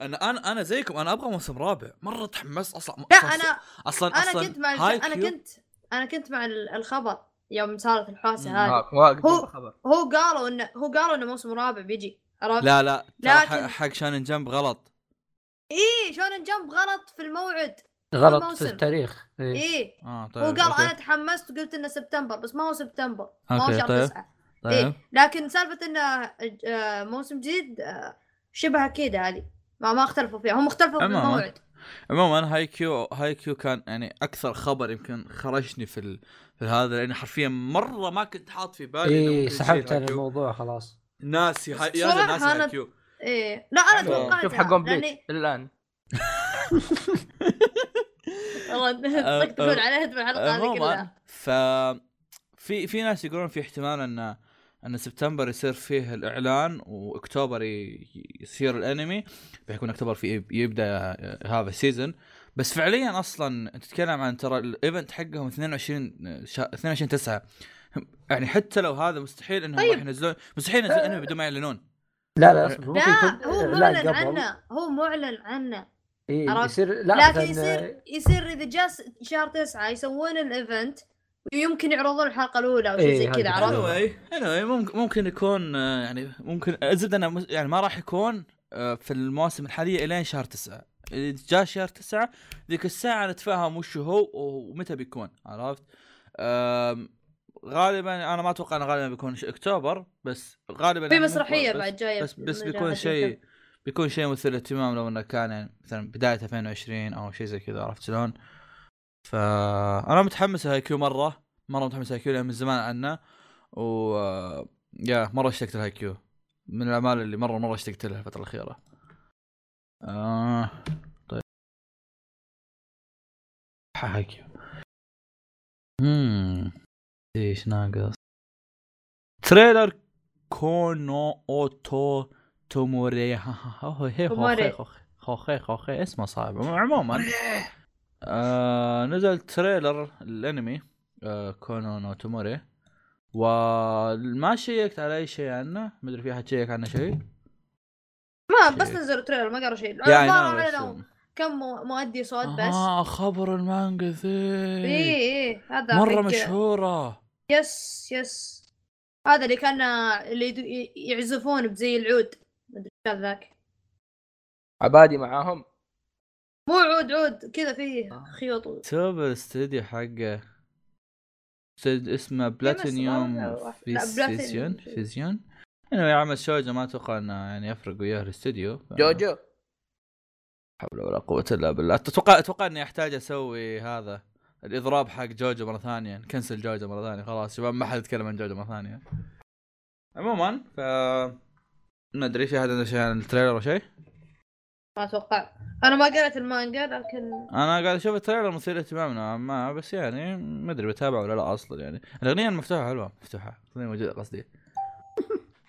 ان انا انا زيكم انا ابغى موسم رابع مره تحمست اصلا
لا
أصلاً-
انا
اصلا
انا
أصلاً
كنت مع الج-
هايكيو-
انا كنت انا كنت مع ال- الخبر يوم صارت الحوسه
مم.
هذه
آه، واقف
هو-
خبر
هو قالوا انه هو قالوا انه موسم رابع بيجي عرفت؟
لا لا ترى ح-
لكن-
حق شانن جنب غلط
اي شونن جمب غلط في الموعد
غلط في
الموسم.
التاريخ إيه.
اي
اه طيب
هو قال
أوكي.
انا تحمست وقلت انه سبتمبر بس ما هو سبتمبر ما هو
أوكي،
شهر
طيب.
تسعه
طيب
إيه لكن سالفة انه آه، موسم جديد آه، شبه اكيد هذه ما ما اختلفوا فيها هم اختلفوا في
عموماً.
الموعد
عموما هاي كيو هاي كيو كان يعني اكثر خبر يمكن خرجني في ال... في هذا لاني حرفيا مره ما كنت حاط في بالي إنه ممكن
اي
يصير
إيه، سحبت
هاي
على
كيو.
الموضوع خلاص
ناسي هاي يا
صراحة
زلمة ناسي هاي
أنا-
كيو
ايه لا انا
حلو.
توقعتها
شوف حقهم
لاني
بليت الان
*laughs*
والله
أه،
تطق تقول عليها هدم الحلقة هذه
عموما
كلها
ف في في ناس يقولون في احتمال ان ان سبتمبر يصير فيه الاعلان واكتوبر ي- يصير الانمي بيكون اكتوبر في يبدا هذا السيزون بس فعليا اصلا انت تتكلم عن ترى الايفنت حقهم 22 شا... 22 9 يعني حتى لو هذا مستحيل انهم
طيب.
راح ينزلون مستحيل ينزلون انمي بدون ما يعلنون
لا لا اصبر ممكن
لا
يكون
هو معلن عنه هو معلن عنه
إيه
عرفت؟
يصير لا
لكن
مثلاً، آه،
يصير يصير اذا جاء س- شهر تسعة يسوون الايفنت ويمكن يعرضون الحلقة الأولى أو شيء
إيه،
زي
هذه
كذا عرفت؟
حلوة.
anyway, anyway ممكن ممكن يكون آه، يعني ممكن الزبده انه مس- يعني ما راح يكون آه، في المواسم الحاليه الين شهر تسعة إذا جاء شهر تسعة ذيك الساعه نتفاهم وش هو ومتى بيكون عرفت؟ آم، غالبا انا ما اتوقع انه غالبا بيكون ش- اكتوبر بس غالبا
في
يعني
مسرحية
بس-
بعد جاية
بس بس
من
بيكون
جهة
شيء
الفيلم.
بيكون شيء مثير للاهتمام لو انه كان يعني مثلا بدايه 2020 او شيء زي كذا عرفت شلون؟ فانا متحمس لهايكيو مره مره متحمس لهايكيو لان من زمان عنه و يا مره اشتقت لهايكيو من الاعمال اللي مره مره اشتقت لها الفتره الاخيره. آه طيب هايكيو امم ايش ناقص؟ تريلر كونو اوتو توموري
توموري.
خوخي خوخي اسمه صعب عموما آه نزل تريلر الانمي آه كونو نو توموري وما شيكت على اي شيء عنه مدري في احد شيك عنه شيء
ما بس
شيء.
نزلوا تريلر ما قالوا شيء
يعني
عباره عن
أنا
إنه كم مو- مؤدي صوت بس إيه،
اه خبر المانجا ذي
اي اي هذا
مره
حق-
مشهوره
يس يس هذا اللي كان اللي يدو- ي- يعزفون بزي العود مدري إيش كان ذاك
عبادي معاهم
مو عود عود كذا
آه.
فيه خيوط و-
توب الاستديو حقه استد- اسمه بلاتينيوم
لا،
فيس-
بلاتينيوم.
فيزيون فيزيون انه يعمل شوجا ما اتوقع انه يعني يفرق وياه الاستديو ف-
جوجو
حول ولا قوة الا بالله اتوقع اتوقع اني احتاج اسوي هذا الاضراب حق جوجو مره ثانيه نكنسل جوجو مره ثانيه خلاص شباب ما حد يتكلم عن جوجو مره ثانيه عموما ف ما ادري في احد عنده شيء عن التريلر او شيء
ما اتوقع انا ما قرأت المانجا لكن
انا قاعد اشوف التريلر مثير اهتمام نوعا ما بس يعني ما ادري بتابع ولا لا اصلا يعني الاغنيه المفتوحه حلوه مفتوحه الاغنيه موجوده قصدي *laughs*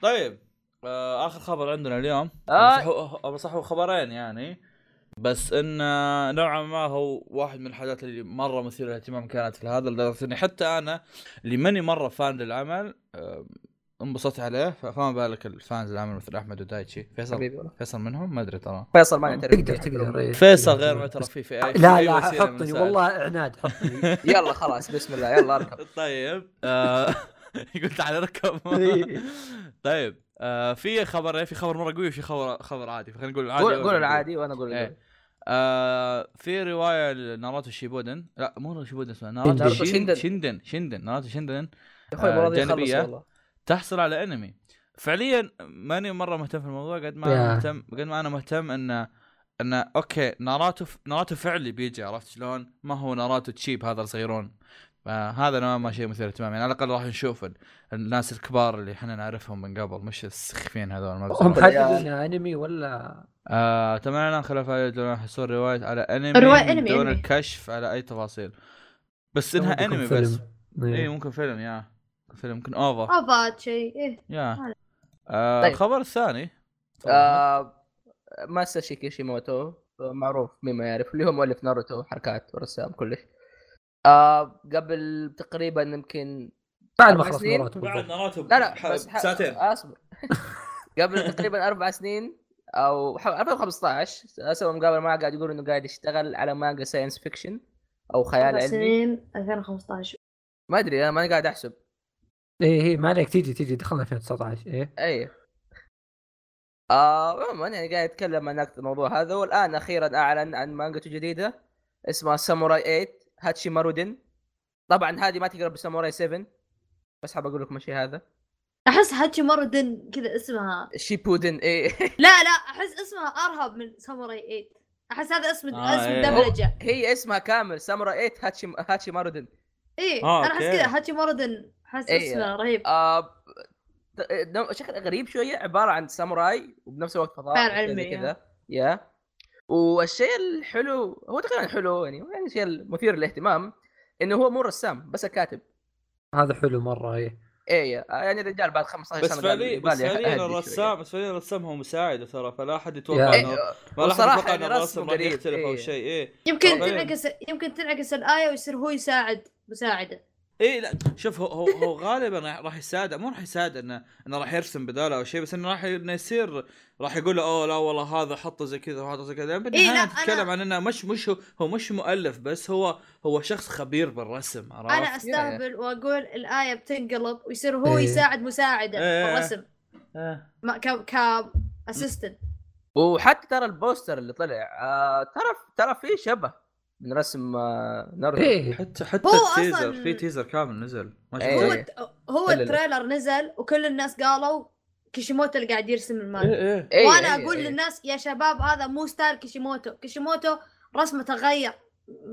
طيب آه اخر خبر عندنا اليوم
آه.
آه. صح هو خبرين يعني بس ان آه، نوعا ما هو واحد من الحاجات اللي مره مثيره للاهتمام كانت في هذا لدرجه اني حتى انا اللي ماني مره فان للعمل آه، انبسطت عليه فما بالك الفانز العمل مثل احمد ودايتشي فيصل
حبيبي والله
فيصل منهم ما ادري ترى
فيصل ما يعترف
تقدر تقدر إيه.
فيصل غير معترف فيه في أي- في
لا
أي
لا
وسيلة من
حطني
وسائل.
والله عناد *laughs* حطني
يلا خلاص بسم الله يلا اركب
طيب آه، *laughs* يقول تعال اركب
*laughs*
إيه.
طيب آه، في خبر في خبر مره قوي وفي خبر خبر *laughs* عادي فخلينا نقول العادي
قول
أول
قول
شيء.
العادي وانا اقول
إيه.
الجوجو.
آه، في روايه لناروتو شيبودن لا مو ناروتو شيبودن اسمها
ناروتو
ناروتو شين-
شيندن.
شيندن شيندن ناروتو شيندن
يا اخوي
آه،
مو راضي يخلص
جانبية.
والله
تحصل على انمي فعليا ماني مره مهتم في الموضوع قد ما انا
يا.
مهتم قد ما انا مهتم انه انه اوكي ناراتو ناراتو فعلي بيجي عرفت شلون؟ ما هو ناراتو تشيب هذا الصغيرون آه هذا نوعا ما شيء مثير اهتمام يعني على الاقل راح نشوف ال- الناس الكبار اللي احنا نعرفهم من قبل مش السخيفين هذول ما
هم
بيسمعون.
محددين انمي ولا
آه تم اعلان خلف هذا حصول روايه على انمي
الرواية
من
أنمي،
دون
أنمي.
الكشف على اي تفاصيل بس انها
ممكن
انمي
فيلم.
بس
إيه.
اي ممكن فيلم يا فيلم يمكن اوفر
افاد شيء ايه
يا
هذا.
آه
طيب.
الخبر الثاني
آه، ماستر شيكيشي موتو آه، معروف مين ما يعرف اللي هو مؤلف ناروتو حركات ورسام كلش آه قبل تقريبا يمكن
بعد ما
أربع
خلص
سنين؟
ناروتو بالضبط.
ناراتو
لا لا بس ح- آه، اصبر *laughs* قبل تقريبا اربع سنين او ح- 2015 سوى مقابله معه قاعد يقول انه قاعد يشتغل على مانجا ساينس فيكشن او خيال
أربع
علمي
سنين 2015
ما ادري انا ماني قاعد احسب
ايه ايه ما عليك تيجي تيجي دخلنا 2019 ايه
اي آه عموما يعني قاعد يتكلم عن الموضوع هذا والان اخيرا اعلن عن مانجته جديده اسمها ساموراي 8 هاتشي مارودن طبعا هذه ما تقرب بساموراي 7 بس حاب اقول لكم الشيء هذا
احس هاتشي مره دن كذا اسمها
شيبودن إيه، اي
لا لا احس اسمها ارهب من ساموراي 8 احس هذا اسم
آه،
اسم
إيه.
دبلجه
*laughs* هي اسمها كامل ساموراي 8 هاتشي هاتشي مارودن
ايه
آه،
انا احس
أوكي.
كذا هاتشي مره دن احس
إيه.
اسمه رهيب
آه ت- نوع- شكل غريب شويه عباره عن ساموراي وبنفس الوقت فضاء
خيال
وشيء زي
علمي،
كذا
آه.
يا والشيء الحلو هو تقريبا حلو يعني يعني الشيء المثير للاهتمام انه هو مو رسام بس الكاتب
هذا حلو مره ايه
ايه يعني الرجال بعد 15
بس
سنه قال-
فعليا
قال
بس
يا
فعليا
أهدي
الرسام بس فعليا الرسام هو مساعد ترى فلا احد يتوقع
يا.
انه
شوي. إيه،
ما راح
والصراحة
يتوقع ان
يعني
الرسم
رسمه
راح
قريب،
يختلف او
إيه.
شيء ايه
يمكن
طبعاً.
تنعكس يمكن تنعكس الايه ويصير هو يساعد مساعده
ايه لا شوف هو هو, هو غالبا راح- راح يساعد مو راح يساعد انه انه راح يرسم بداله او شيء بس انه راح ي- انه يصير راح يقول له اوه لا والله هذا حطه زي كذا وهذا زي كذا
إيه،
بالنهايه
لا،
نتكلم
أنا-
عن انه مش مش هو, هو مش مؤلف بس هو هو شخص خبير بالرسم عرفت؟
انا استهبل واقول الايه بتنقلب ويصير هو
إيه.
يساعد مساعده
إيه.
بالرسم
إيه.
ما ك ك اسيستنت
وحتى ترى البوستر اللي طلع آه ترى ترى فيه شبه من رسم آه ناروتو
ايه
حتى حتى
هو أصلاً-
التيزر في تيزر كامل نزل ما
إيه.
شفته؟
هو هو
لا، لا، لا.
التريلر نزل وكل الناس قالوا كيشيموتو اللي قاعد يرسم المانجا
ايه ايه
إيه،
وانا
إيه،
اقول
إيه.
للناس يا شباب هذا مو ستايل كيشيموتو كيشيموتو رسمه تغير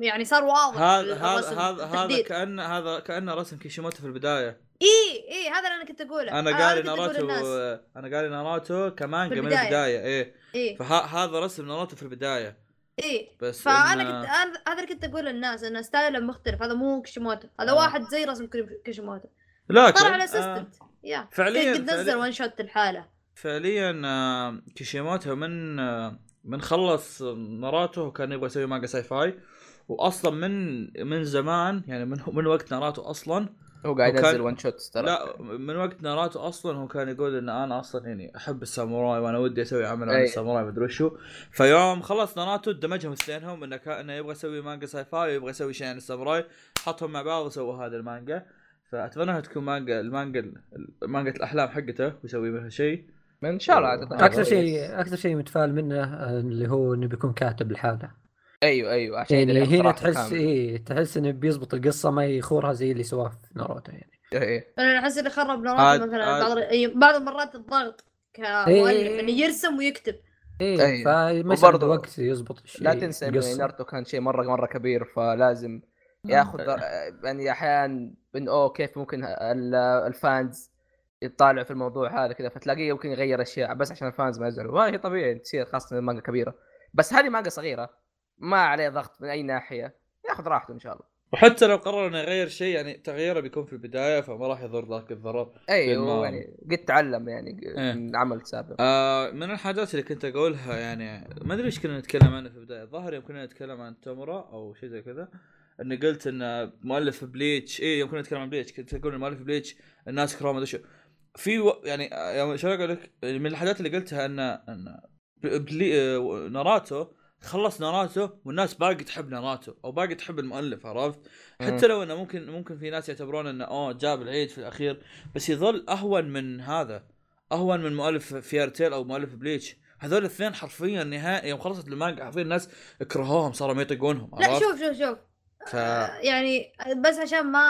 يعني صار واضح
هذا
الرسم،
هذا هذا هذا
التحديد.
كان هذا كانه رسم كيشيموتو في البدايه
اي اي إيه، هذا اللي انا كنت اقوله
انا قاري
كنت أقول
ناروتو
للناس.
انا قاري ناروتو كمانجا
في
من
البداية. إيه.
البدايه ايه
اي
فهذا رسم ناروتو في البدايه
اي
بس
فانا
إنه-
إيه. كنت أنا- هذا اللي كنت اقول للناس انه ستايله مختلف هذا مو كيشيموتو هذا
آه.
واحد زي رسم كريم- كيشيموتو
لكن
طلع على
آه
اسيستنت يا
فعليا
قد نزل
فعليا,
وان شوت الحالة
فعليا آه كيشيموتو من آه من خلص ناروتو كان يبغى يسوي مانجا ساي فاي واصلا من من زمان يعني من من وقت ناروتو اصلا
هو قاعد
وكان-
ينزل ون شوتس ترى
لا من وقت ناروتو اصلا هو كان يقول ان انا اصلا يعني احب الساموراي وانا ودي اسوي عمل عن
أي.
الساموراي مدري وشو فيوم خلص ناروتو دمجهم اثنينهم انه كان انه يبغى يسوي مانجا ساي فاي ويبغى يسوي شيء عن الساموراي حطهم مع بعض وسووا هذا المانجا فاتمنى انها تكون مانجا المانجا مانجا الاحلام حقته ويسوي منها شيء
ان شاء الله عاد يطلع
اكثر
كويس.
شيء اكثر شيء متفائل منه آه، اللي هو انه بيكون كاتب لحاله
ايوه ايوه عشان
يعني
يدري
هنا
اقتراح
تحس
كامل.
اي تحس انه بيزبط القصه ما يخورها زي اللي سواه في ناروتو يعني
إيه.
انا احس اللي خرب
عاد-
ناروتو مثلا
عاد.
بعض أي- بعض المرات الضغط
إيه.
كمؤلف انه يرسم ويكتب
اي
أي.
إيه، فما
وبرضه
يصير وقت يزبط الشيء
لا تنسى انه
القصة.
ناروتو كان شيء مره مره كبير فلازم ياخذ يعني احيانا من اوه كيف ممكن ال- الفانز يطالعوا في الموضوع هذا كذا فتلاقيه يمكن يغير اشياء بس عشان الفانز ما يزعلوا وهي طبيعي تصير خاصه إن المانجا كبيره بس هذه مانجا صغيره ما عليه ضغط من اي ناحيه ياخذ راحته ان شاء الله
وحتى لو قرر انه يغير شيء يعني تغييره بيكون في البدايه فما راح يضر ذاك الضرر.
ايوه
إيه، ما-
يعني قد تعلم يعني
إيه.
من عمل سابق
آه من الحاجات اللي كنت اقولها يعني ما ادري ايش كنا نتكلم عنه في البدايه، الظاهر يوم كنا نتكلم عن تمرة او شيء زي كذا اني قلت ان مؤلف بليتش اي يوم كنا نتكلم عن بليتش كنت اقول إن مؤلف بليتش الناس كرام ادري شو في و... يعني آه، يوم شو اقول لك يعني من الحاجات اللي قلتها ان ان بلي... آه، ناراتو خلص ناراتو والناس باقي تحب ناراتو او باقي تحب المؤلف عرفت؟
إيه.
حتى لو انه ممكن ممكن في ناس يعتبرون انه اوه جاب العيد في الاخير بس يظل اهون من هذا اهون من مؤلف فيرتيل او مؤلف بليتش هذول الاثنين حرفيا نهائي يوم خلصت المانجا حرفيا الناس كرهوهم صاروا ما يطيقونهم
لا
عرفت؟
شوف شوف شوف
ف...
يعني بس عشان ما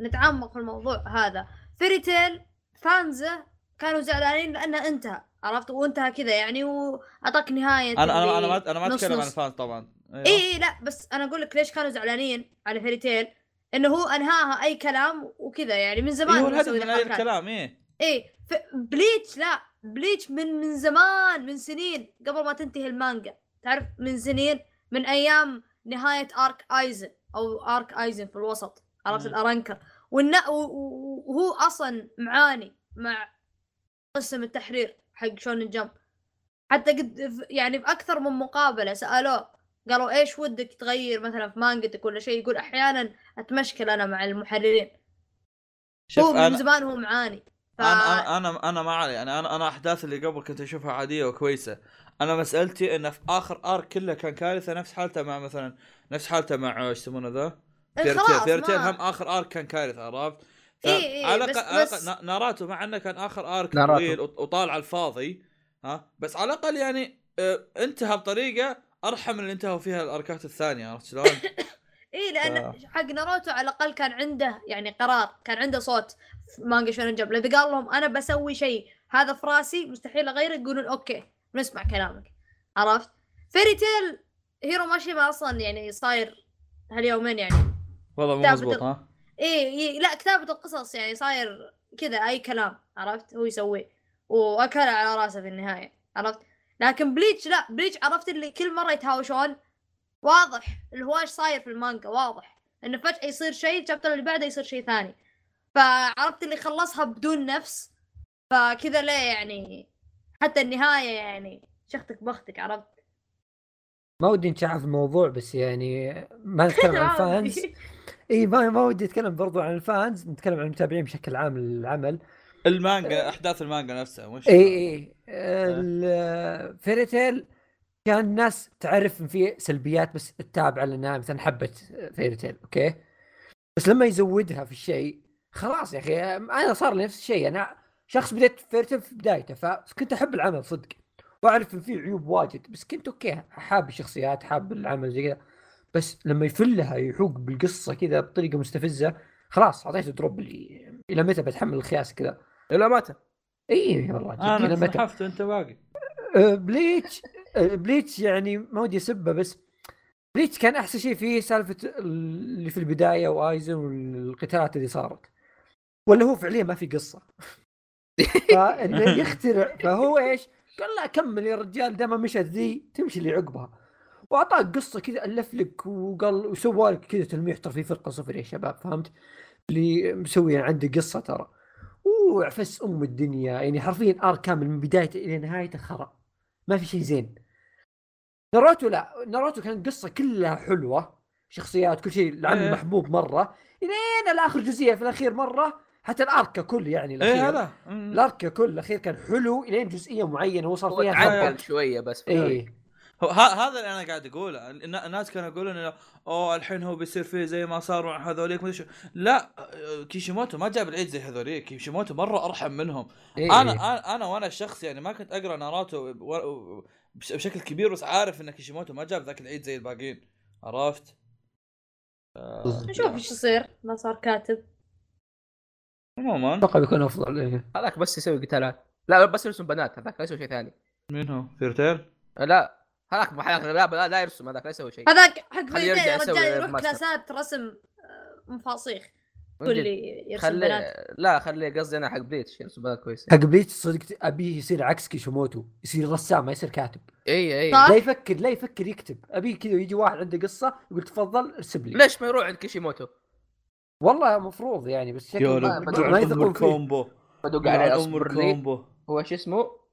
نتعمق في الموضوع هذا فيري تيل فانزه كانوا زعلانين لانه انتهى عرفت وانتهى كذا يعني واعطاك نهايه
انا انا انا
اللي
ما انا ما
نص
اتكلم عن
نص. إيه،
الفانز طبعا أيوة.
اي اي لا بس انا اقول لك ليش كانوا زعلانين على فيري تيل انه هو انهاها اي كلام وكذا يعني من زمان
إيه هو
هو
الهدف
يسوي
من هذا
الحركات.
الكلام ايه
ايه ف... بليتش لا بليتش من من زمان من سنين قبل ما تنتهي المانجا تعرف من سنين من ايام نهايه ارك ايزن او ارك ايزن في الوسط عرفت
مم.
الارنكر والنا... و- و- وهو اصلا معاني مع قسم التحرير حق شونن جمب حتى قد ف- يعني في اكثر من مقابله سالوه قالوا ايش ودك تغير مثلا في مانجتك ولا شيء يقول احيانا اتمشكل انا مع المحررين
شوف
هو من
انا
زمان هو معاني ف...
انا انا انا ما علي يعني انا انا انا احداث اللي قبل كنت اشوفها عاديه وكويسه انا مسالتي انه في اخر ارك كله كان كارثه نفس حالته مع مثلا نفس حالته مع ايش يسمونه ذا
إيه،
فيرتيل فيرتيل هم اخر ارك كان كارثه عرفت
إي إي
على
إيه، بس-
الأقل- على
بس-
الأقل نا- ناراتو مع انه كان اخر ارك
ناراتو.
طويل وط- وطال على الفاضي ها بس على الاقل يعني آه، انتهى بطريقه ارحم من اللي انتهوا فيها الاركات الثانيه عرفت
*laughs*
شلون؟
اي لان إيه، حق ناروتو على الاقل كان عنده يعني قرار كان عنده صوت في مانجا شونن جمب اذا قال لهم انا بسوي شيء هذا في راسي مستحيل اغيره يقولون اوكي نسمع كلامك عرفت فيري تيل هيرو ماشيما اصلا يعني صاير هاليومين يعني
والله مو
لا،
مضبوط
بدل-
ها؟
اي إي، إيه، لا كتابه القصص يعني صاير كذا اي كلام عرفت هو يسويه واكل على راسه في النهايه عرفت لكن بليتش لا بليتش عرفت اللي كل مره يتهاوشون واضح الهواش صاير في المانجا واضح انه فجاه يصير شيء الشابتر اللي بعده يصير شيء ثاني فعرفت اللي خلصها بدون نفس فكذا ليه يعني حتى النهايه يعني شختك بختك عرفت
ما ودي نشعب الموضوع بس يعني ما
*laughs*
نتكلم عن الفانز اي ما ما ودي اتكلم برضو عن الفانز نتكلم عن المتابعين بشكل عام للعمل
المانجا احداث المانجا نفسها مش
اي اي إيه، فيري تيل كان الناس تعرف ان في سلبيات بس تتابع لانها مثلا حبت فيري تيل اوكي بس لما يزودها في الشيء خلاص يا اخي انا صار لي نفس الشيء انا شخص بديت فيري تيل في بدايته فكنت احب العمل صدق واعرف ان في عيوب واجد بس كنت اوكي حاب الشخصيات حاب العمل زي كذا بس لما يفلها يحوق بالقصه كذا بطريقه مستفزه خلاص اعطيته دروب اللي الى متى بتحمل الخياس كذا
لا متى
اي والله جد،
انا
الى متى
سحفت وانت باقي
أه، بليتش أه، بليتش يعني ما ودي اسبه بس بليتش كان احسن شيء فيه سالفه اللي في البدايه وايزن والقتالات اللي صارت ولا هو فعليا ما في قصه فانه يخترع فهو ايش؟ قال لا كمل يا رجال دام مشت ذي تمشي اللي عقبها واعطاك قصه كذا الف لك وقال وسوى لك كذا تلميح ترى في فرقه صفر يا شباب فهمت؟ اللي مسوي عنده قصه ترى وعفس ام الدنيا يعني حرفيا ار كامل من بدايته الى نهايته خرا ما في شيء زين ناروتو لا ناروتو كانت قصه كلها حلوه شخصيات كل شيء العم
إيه.
محبوب مره الين الاخر جزئيه في الاخير مره حتى الارك كله يعني الاخير
ايه هذا مم.
الارك كله الاخير كان حلو الين جزئيه معينه وصل
هو
فيها إيه.
تعدل شويه بس في
إيه.
اي
هو ه- هذا اللي انا قاعد اقوله النا- الناس كانوا يقولون إنه، اوه الحين هو بيصير فيه زي ما صار مع هذوليك ما أدري شو لا آه، كيشيموتو ما جاب العيد زي هذوليك كيشيموتو مره ارحم منهم انا انا انا وانا شخص يعني ما كنت اقرا ناروتو ب- و- و- بش- بشكل كبير بس عارف ان كيشيموتو ما جاب ذاك العيد زي الباقيين عرفت؟
نشوف ايش يصير ما صار كاتب
عموما
اتوقع بيكون افضل إيه.
هذاك بس يسوي قتالات لا بس يرسم بنات هذاك لا يسوي شيء ثاني
مين هو؟ فيرتيل؟
لا هذاك ما حياك- لا لا, لا يرسم هذاك لا يسوي شيء
هذاك حق
خليه يرجع
فيديو
يسوي
رجال يروح
ريماستر.
كلاسات رسم آه، مفاصيخ
من جد.
كل يرسم بنات
خليه لا خليه قصدي انا حق بليتش يرسم بنات كويس
حق بليتش صدق ابيه يصير عكس كيشيموتو يصير رسام ما يصير كاتب
اي اي
صح؟
لا يفكر لا يفكر يكتب ابيه كذا يجي واحد عنده قصه يقول تفضل ارسم لي
ليش ما يروح عند كيشيموتو؟ والله
والله مفروض يعني بس شكله
لو
ما-
بدو-
ما يثقون فيه
الكومبو
بدق
على
عليه
ام
اصبر لي
الكومبو
هو شو اسمه؟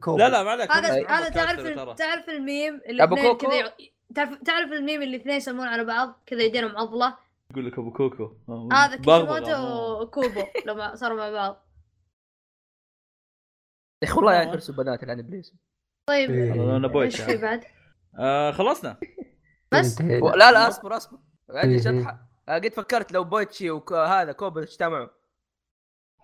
كومبو.
لا لا ما عليك
هذا
هم
هذا
كاتبة
تعرف
ترى.
ال- تعرف الميم
أبو
الاثنين
كوكو؟
كذا يع- تعرف تعرف الميم اللي الاثنين يسمون على بعض كذا يدينهم عضله
يقول لك ابو كوكو آه،
هذا
بغبغة.
*laughs*
كيشيموتو وكوبو لما صاروا مع بعض
يا اخي والله
آه.
يعرف يرسم بنات الان ابليس
طيب
إيه.
والله انا بويت
ايش في
يعني.
بعد؟
آه، خلصنا *laughs*
بس
انتهينا.
لا لا اصبر اصبر عندي
إيه.
شطحه آه، قد فكرت لو بويتشي وهذا كوبل اجتمعوا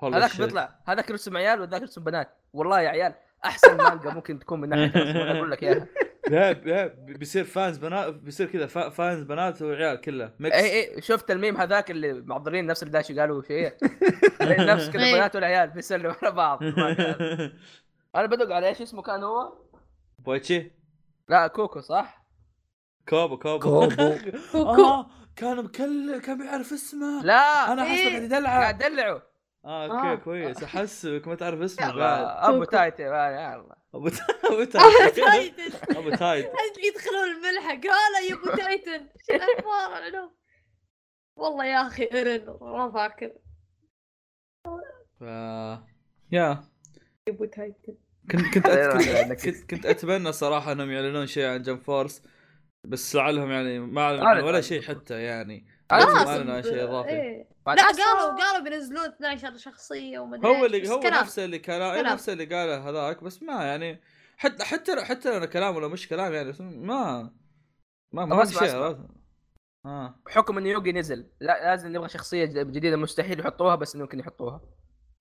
والله
هذاك
الشيء.
بيطلع هذاك يرسم عيال وذاك يرسم بنات والله يا عيال احسن مانجا ممكن تكون من ناحيه الرسم، أنا اقول لك اياها
لا لا بيصير فانز بنات بيصير كذا فا- فانز بنات وعيال كله ميكس
اي اي إيه، شفت الميم هذاك اللي معضلين نفس الداشي قالوا شيء نفس كذا
إيه.
بنات والعيال بيسلموا على
*laughs*
بعض انا بدق على ايش اسمه كان هو؟
*laughs* بويتشي
لا كوكو صح؟
كوبو كوبو *laughs*
كوبو.
كوكو
آه، كان مكل كان بيعرف اسمه
لا
انا احسبه
إيه.
قاعد
قاعد
يدلع
دلعوا
اه اوكي
آه.
كويس احسبك ما تعرف اسمه بعد
ابو
كوكو.
تايتي يا الله
ابو *laughs* تا- ابو تايد
تايتن
*laughs* ابو تايد
يدخلون الملحق هلا يا ابو تايتن *laughs* شو الاخبار علوم والله يا اخي ارن رفعك يا
ف... يا
ابو تايتن
كنت
*laughs*
كنت
أيوة،
أت...
عندك.
كنت... كنت كنت اتمنى صراحه انهم يعلنون شيء عن جم فورس بس لعلهم يعني ما
أعلن
اعلنوا ولا
عن
شيء
Jump
حتى يعني
أعلن
ما
عن-
اعلنوا عن شيء اضافي
آه، إيه.
بعد
لا
أحسن-
قالوا قالوا بينزلون 12 شخصيه ومدري
هو
إيش،
اللي
بس
هو
كلام.
نفسه اللي كان إيه،
كلام.
نفسه اللي قاله هذاك بس ما يعني حتى حتى حتى لو أنا كلامه لو مش كلام يعني بس ما ما ما في
أسمع-
شيء
أسمع.
عرفت؟ اه
بحكم ان يوجي نزل لا لازم نبغى شخصيه جديده مستحيل يحطوها بس ممكن يحطوها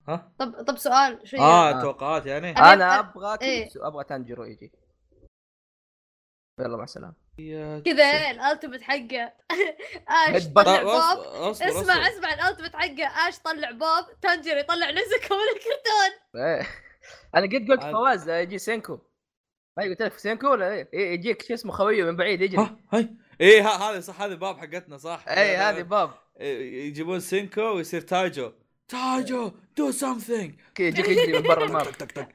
ها
طب طب سؤال شويه
اه توقعات يعني
أنا-
انا
أنا-
ابغى
إيه.
كيتسو ابغى تانجيرو يجي يلا مع السلامه
كذا الالتمت حقه *laughs* اش
Headbutt.
طلع
طيب،
بوب
أصبر- أصبر-
اسمع
أصبر.
اسمع الالتمت حقه اش طلع بوب تنجر يطلع نزكه من الكرتون
إيه. *laughs* انا قد قلت
عاد.
فواز يجي سينكو ما قلت لك سينكو ولا إيه؟ إيه، يجيك شو اسمه خويه من بعيد يجري
ها هاي ايه ها- هذه صح هذه باب حقتنا صح
اي هذه باب
إيه، يجيبون سينكو ويصير تاجو تاجو دو سمثينج
يجيك يجري من برا
*laughs*
الماب
اه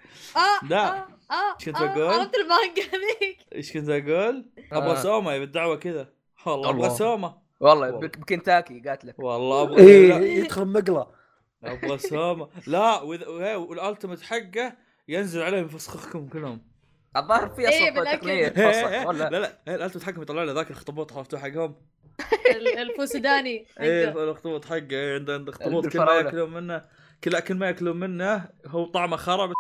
لا.
آه، اه
شو
آه،
تقول؟
عرفت المانجا ذيك
*laughs* ايش كنت اقول؟
آه.
ابغى سوما بالدعوه كذا والله
الله.
ابغى سوما
والله
والله.
بك- بكنتاكي قاتلك
والله ابغى
إيه،
لا.
ايه يدخل مقله
ابغى سوما لا وإذا- وهي- والالتيميت حقه ينزل عليهم يفسخكم كلهم
الظاهر في
إيه،
اصلا
بالأكل.
*laughs*
تقنيه
هي-
تفصل
هي- لا
ولا
لا هي الالتيميت حقهم يطلع له ذاك الاخطبوط عرفتوا حقهم
ال- الفوسداني
ايه
عنده.
الاخطبوط حقه إيه، عنده عنده اخطبوط كل ما
الفراولة.
ياكلون منه كل كل ما ياكلون منه هو طعمه خرب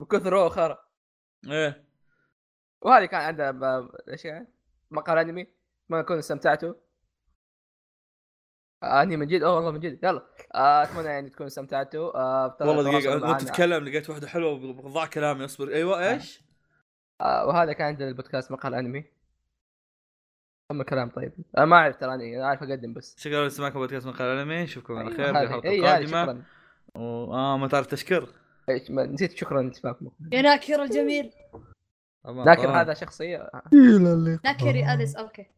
بكثر هو خرا
ايه
وهذه كان عندها ب- ايش يعني؟ مقال انمي ما كنت استمتعتوا آه، اني من جد اوه والله من جد يلا آه، اتمنى يعني تكونوا استمتعتوا آه، بتابعوا
والله دقيقه
تواصلوا
وانت
معنا.
تتكلم لقيت واحده حلوه بضاع كلامي اصبر ايوه ايش؟
آه، وهذا كان عندنا البودكاست مقال انمي اما كلام طيب آه، ما اعرف تراني انا عارف اقدم بس
شكرا لسماعكم بودكاست من قناه الانمي نشوفكم على خير في
هذه-
الحلقه
إيه، هذه
القادمه
شكراً.
و- اه ما تعرف تشكر
إيش، ما- نسيت شكرا لاتفاقكم
يا ناكر الجميل
أما-
لكن
آه.
هذا شخصيه
ناكر يا اليس اوكي